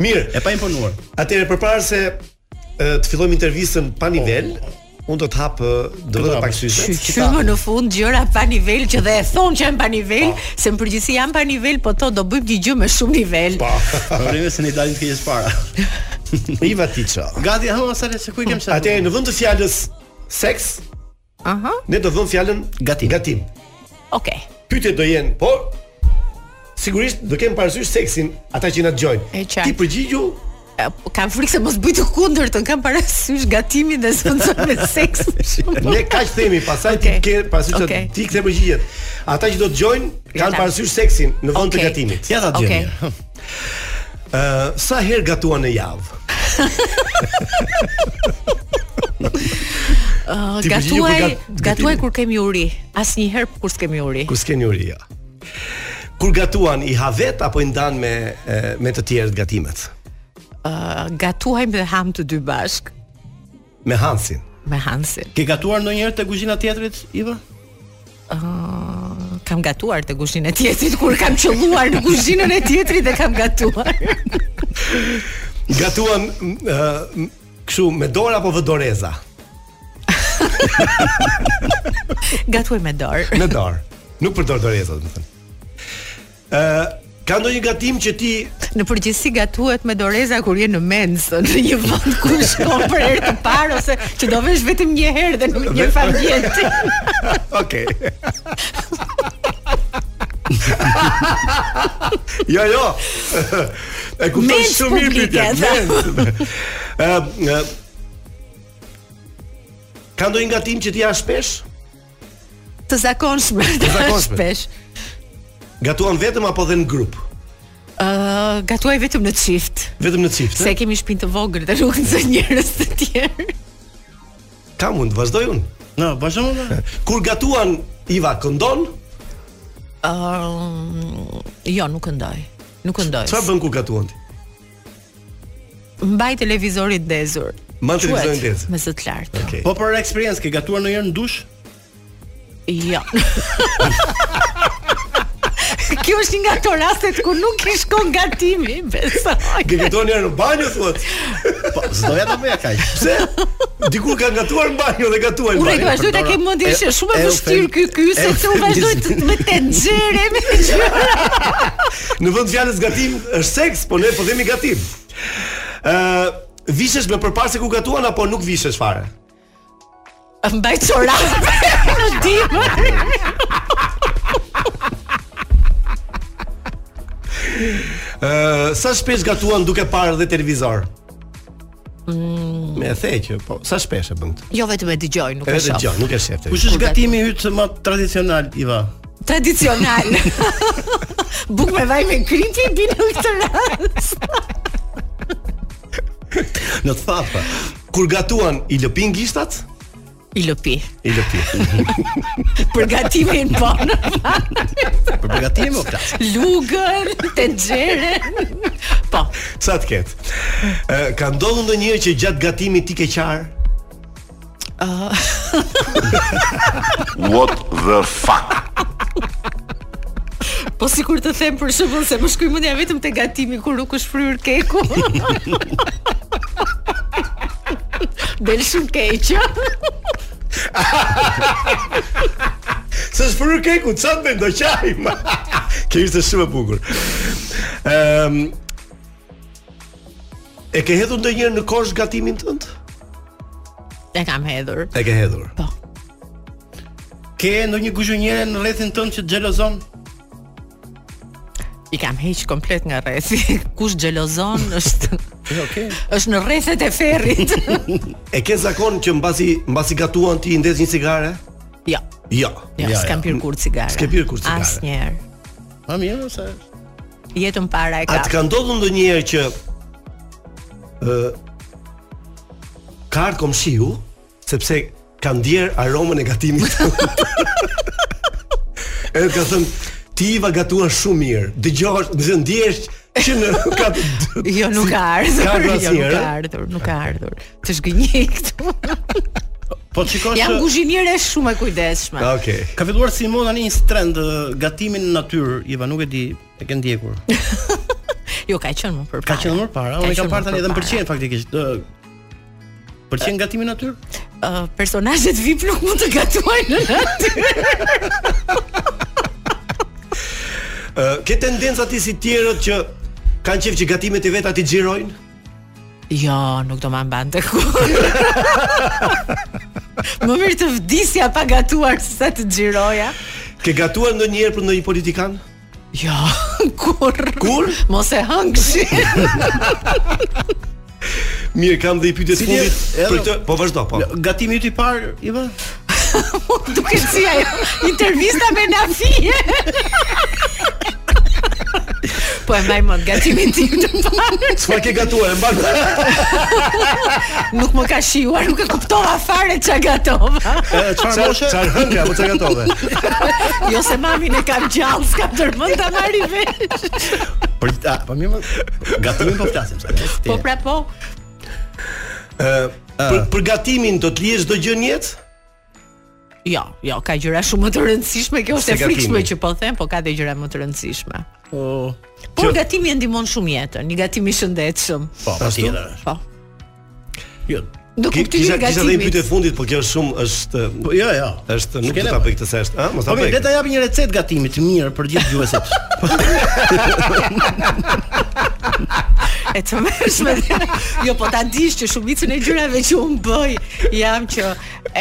Mirë, e pa imponuar. Atëherë përpara se e, të fillojmë intervistën pa nivel, unë do të hap e, Oh. do vetë pak syze. Qymë në fund gjëra pa nivel që dhe e thonë që janë pa nivel, se në përgjithësi janë pa nivel, po to do bëjmë një gjë me shumë nivel. Problemi se ne dalim të keqes para. Iva Tiça. Gati, ha sa se ku i kem shëruar. Atëherë në vend të fjalës seks, Aha. ne do vëmë fjalën gatim. Gatim. Okej. Pyetjet do jenë, por sigurisht do kem parasysh seksin ata që na dëgjojnë. E qartë. Ti përgjigju Kam frikë se mos bëj të kundërtën, kam parasysh gatimin dhe sponsor me seks. Ne kaq themi, pastaj ti ke parasysh okay. Okej. ti kthe përgjigjet. Ata që do dëgjojnë Ja ta. kanë parasysh seksin në vend Okej. të gatimit. Ja ta djem Okej. Ë, sa herë gatuan në javë? Ë, Ti përgjigju gatuaj, kur gat- gatuaj gatimin. kur kemi uri. Asnjëherë kur s'kemi uri. Kur s'keni uri, ja. Kur gatuan i ha vet apo i ndan me e, me të tjerët gatimet? Ë, gatuajmë dhe ham të dy bashk Me Hansin. me Hansin. Ke gatuar ndonjëherë te kuzhina e teatrit, Iva? Ë, kam gatuar te kuzhina e tjetrit kur kam qelluar në kuzhinën e tjetrit dhe kam gatuar. Gatuan uh, kështu me dorë apo vë doreza? Gatuaj me dorë. Me dorë. Nuk përdor doreza, do të thënë. Ë, ka ndonjë gatim që ti Në përgjithësi gatuhet me doreza kur je në mensë, në një vend ku shkon për herë të parë ose që do vesh vetëm një herë dhe në një familje. Okej. jo, jo. E kuptoj Mens shumë mirë publike, pyetjen. Ë, ë, Ka ndonjë gatim që ti ja shpesh? Të zakonshme. Të zakonshme. Shpesh. Gatuan vetëm apo dhe në grup? Ë, gatuaj vetëm në çift, Vetëm në çift. eh? se kemi shtëpinë të vogël dhe nuk zë njerëz të tjerë. Ka mund, vazhdoj unë. No, vazhdo unë. Kur gatuan Iva këndon, Ë, jo, nuk këndoj. Nuk këndoj. çfarë bën kur gatuan ti? Mbaj televizorin dezur. Mban televizorin Quhet, dezur. Me zë të lartë. Okej. Po për eksperiencë ke gatuar ndonjëherë në dush? Jo. Kjo është një nga ato rastet ku nuk i shkon gatimi, besoj. Ke gatuar një herë në banjë thuat. Po, s'do ja ta bëja kaq. Pse? Dikur ka gatuar në banjë dhe gatuaj në Ure, banjë. vazhdoj ta kem mendje që është shumë e vështirë ky ky se eu të vazhdoj të me të xhere me gjëra. Në vend fjalës gatim është seks, po ne po themi gatim. Ë, vishesh me përparse ku gatuan apo nuk vishesh fare? Mbaj çorape në dimër. Ë, sa shpesh gatuan duke parë dhe televizor? Mm. Me e the që po, sa shpesh e bën këtë? Jo vetëm e dëgjoj, nuk e Edhe shoh. gjë, nuk e shef. Kush është gatimi yt më tradicional, Iva? Tradicional. Buk me vaj me kripi bin në këtë rast. Në të thapa. Kur gatuan i lëpin gishtat? I lëpi. I lëpin. Për gatimin po në fakt. Për përgatimin u flas. Lugën, tenxheren. Po. Sa të ket? Ë, ka ndodhur ndonjëherë që gjatë gatimit ti ke qarë? What the fuck? Po sikur të them për shembull se më shkoi mendja vetëm te gatimi kur nuk është fryrë keku. Del shumë keq. Së shpërur keku, të satë me ndo qaj ma. Kjo ishte shumë e bukur Ëm E ke hedhur ndonjëherë në kosh gatimin tënd? E kam hedhur. E ke hedhur. Po. Ke ndonjë guzhonjere në rrethin tënd që të xhelozon? I kam heq komplet nga rrethi. Kush xhelozon është okay. është në rrethet e ferrit. Jo, E ke zakon që mbasi mbasi gatuan ti i ndez një cigare? jo. Jo. Jo, s'kam pirë kur cigare. S'ke pirë kur cigare. Asnjëherë. Ma mirë se Jetën para e A ka. të ka ndodhur ndonjëherë që ë ka ardhur komshiu sepse ka ndjer aromën e gatimit. Edhe ka thënë ti Iva gatuan shumë mirë. Dëgjosh, do të thënë, ndjesh që në ka Jo, nuk ka ardhur. Ka ardhur jo, nuk asnjëherë? ka ardhur, nuk ka ardhur. Të zhgënjej këtu. Po shikosh Jam kuzhiniere shumë e kujdesshme. Okej. Ka filluar si mod tani një trend ë, gatimi në natyrë, Iva, nuk e di, e ke ndjekur. Jo, ka qenë më përpara. Ka qenë më para, unë e kam qenë parë më tani edhe më përpara. pëlqen faktikisht. ë, Pëlqen gatimi në natyrë? Ë, personazhet VIP nuk mund të gatuajnë në natyrë. Ë, ke tendenca ti si tjerët që kanë qef që gatimet e veta ti xhirojnë? jo, nuk do ma mbante kur. më mirë të vdisja pa gatuar se sa të xhiroja. Ke gatuar ndonjëherë për ndonjë politikan? Jo, kur. Kur? Mos e hëngshi. Mirë, kam dhe i pyetje Si fundit tjerë? për këtë. Po vazhdo, po. Gatimi yt i parë, Iva? Duket si ajo intervista me Nafie. po e mbaj mend gatimin tim të parë. Çfarë ke gatuar? E mban. nuk më ka shijuar, nuk e kuptova fare ç'a gatova. Ë, çfarë moshe? Çfarë hëngja, po çfarë gatove? Jo se mamin e kam gjallë, s'kam dërmën ta marri vesh. Për a, po mirë, më- gatimin po flasim sa. Po pra po, Ë, për, për gatimin do të lihesh çdo gjë në jetë? Jo, jo, ka gjëra shumë më të rëndësishme, kjo është Se e frikshme gatimi. që po them, po ka dhe gjëra më të rëndësishme. Po. Por gatimi e ndihmon shumë jetën, një gatim i shëndetshëm. Po, patjetër. Po. Jo. Do Ki- kuptimi kisha- i Kisha dhe një gatimit. pyetje fundit, po kjo është shumë është Po, jo, jo. Është nuk do S'kene, ta po. bëj këtë se është, ëh, mos ta Po mirë, bëj. le ta jap një recetë gatimi të mirë për gjithë dëgjuesit. E të mërshme Jo, po ta dish që shumicën e gjërave që unë bëj Jam që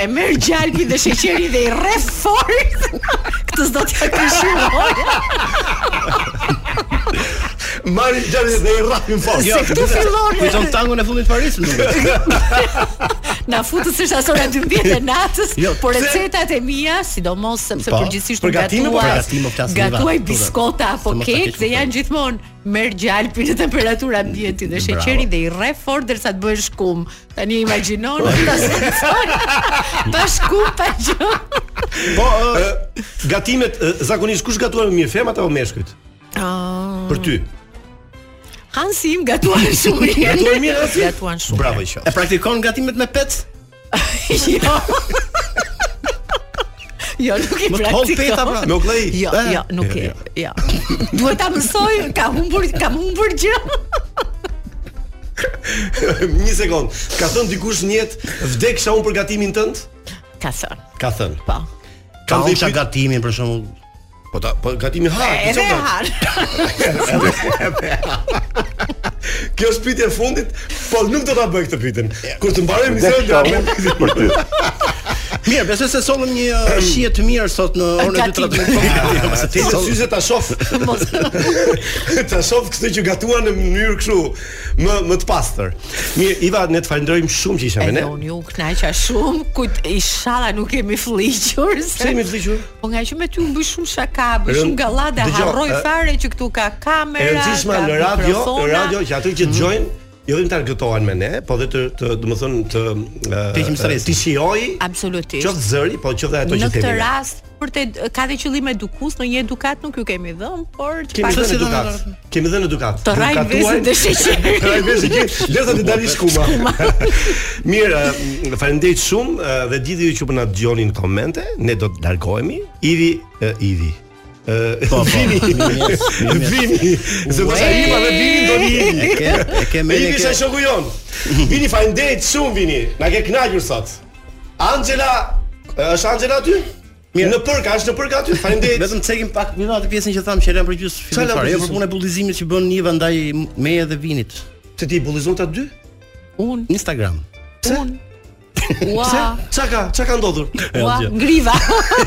e merë gjalpi dhe sheqeri dhe i re fort Këtë s'do t'ja këshiroj Marrin gjatë dhe i rrapin fort. Se këtu fillon. Kujton tangon e fundit të Paris, më duket. Na futë së është asora 12 e natës Jo, Por pse? recetat e mia, sidomos sepse Po, përgjithsisht për unë gatime, po, gatuaj për gatime, po flasim për Gatuaj gatime. biskota po, Se apo mos ta kek keq Dhe janë gjithmonë merë gjalpi në temperatura ambienti Dhe sheqeri dhe i re fort dërsa të bëjë shkum Tani imagjinon ta sensoj. Pa shkum, pa gjë Po, ë, gatimet ë, zakonisht kush gatuan më mirë, femrat apo meshkujt? Ah. Për ty. Hansi im gatuan shumë mirë. Gatuan mirë, Hansi? Gatuan shumë. Bravo i qof. E praktikon gatimet me pec? jo. Jo, nuk i Më të hol peta, pra. praktikon. Nuk lej. Jo, Eh. jo, nuk e. Jo. Duhet ta mësoj, ka humbur, kam humbur gjë. Një sekond. Ka thënë dikush në jetë vdeksa unë për gatimin tënd? Ka thënë. Ka thënë. Po. Ka ndihmësha gatimin për shembull. Po ta, po gatimi ha, E, Edhe e har. Kjo është pyetja e fundit, po nuk do ta bëj këtë pyetjen. Kur të mbaroj misionin do Vdeksa ta bëj për ty. Mirë, besoj se sollëm një uh, shije të mirë sot në orën e 2:30. Jo, se ti të syze ta shoh. ta shoh këtë që gatuan në mënyrë kështu më më të pastër. Mirë, Iva, ne të falenderojmë shumë që isha me Edhe ne. unë ju knaqa shumë, kujt inshallah nuk jemi fliqur. se- Pse jemi fliqur? Po nga që me ty u bëj shumë shaka, bëj Rën- shumë galla dhe Dëgjo, harroj e- fare që këtu ka kamera, eh, E rëndësishme ka në radio, në mikrofona. radio që atë që dëgjojnë jo vetëm të argëtohen me ne, po dhe të, të domethënë të Të heqim ë, stresin. të shijoj Absolutisht. qoftë zëri, po qoftë ato në që këtë themi. ne. rast për të ka dhe qëllim edukues, në një edukat nuk ju kemi dhënë, por të Kemi paktën- dhënë edukat. Kemi dhënë edukat. Të rrajnë Edukatuaj- vezët dhe sheqerin. Të rrajnë vezët dhe sheqerin. Lërë të dalin shkuma. Mirë, ë, faleminderit shumë ë, dhe gjithë ju që po na dëgjoni në komente, ne do të largohemi. Ivi, ë, Ivi. Ë, Po, po. Vini. Mirë, mirë. Vini. Se do sa ima dhe Vini do një Ivi. E ke- e ke me- e Ivi ke- sa shoku jon. Vini faleminderit shumë Vini. Na ke kënaqur sot. Angela, është Angela aty? Mirë. Në përka, është në përka aty. Faleminderit. Vetëm cekim pak mirë atë pjesën që tham që e lëm për gjysmë Çfarë fillim lëm për fare, jo gjysmë? për punën e bullizimit që bën Niva ndaj meje dhe vinit. Se ti bullizon ta dy? Un Instagram. un Ua, Pse? Çka ka? Çka ka ndodhur? ua, gjë. ngriva.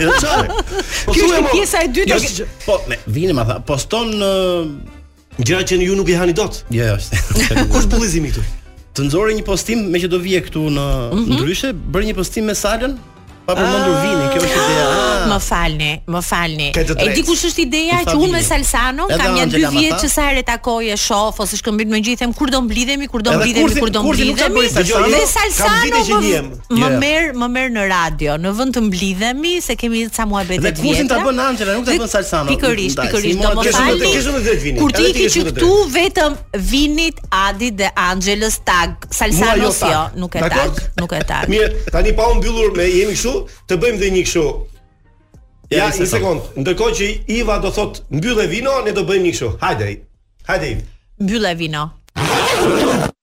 Jo, çfarë? Po Kjo thuaj është mo. pjesa e dytë. Është që- gjë- Po, me vini ma tha, poston ë, Gjëra që ju nuk i hani dot. Jo, jo. është- Kush bullizimi këtu? Të nxorë një postim me që do vije këtu në ndryshe, bërë një postim me Salën pa përmendur vinin, kjo është ideja. Më falni, më falni. Ke të E drejtë. di kush është ideja Më tha që unë me Vini. Salsano Edhe kam ja 2 Angela ma vjet tha. që sa herë takoj e shoh ose shkëmbit me gjithë them kur do mblidhemi, kur do Edhe mblidhemi, kurthi- kur do kurthi nuk ta mblidhemi. bëri Salsano, Dhe kam Salsano vite që njihem. më- më Jo. merr, më merr në radio, në vend të mblidhemi se kemi ca muhabet Dhe të kursin ta vjetra. bën Angela, nuk ta Dhe bën Salsano. Pikërisht, Ndaj, si pikërisht, mua do më ke shumë falni. të- ke shumë të drejtë Vini. Kur Edhe ti ti iki ke që shumë të këtu vetëm vinit, Adi dhe Angelës tag, Salsano tag. jo, nuk e tag, Dakor? nuk e tag. Mirë, tani pa u mbyllur me jemi kështu, të bëjmë dhe një kështu. Ja, Ja, një një sekond. Ndërkohë që Iva do thot mbyllë vino, ne do bëjmë një kështu. Hajde. Hajde. Iva. Mbyllë e vino.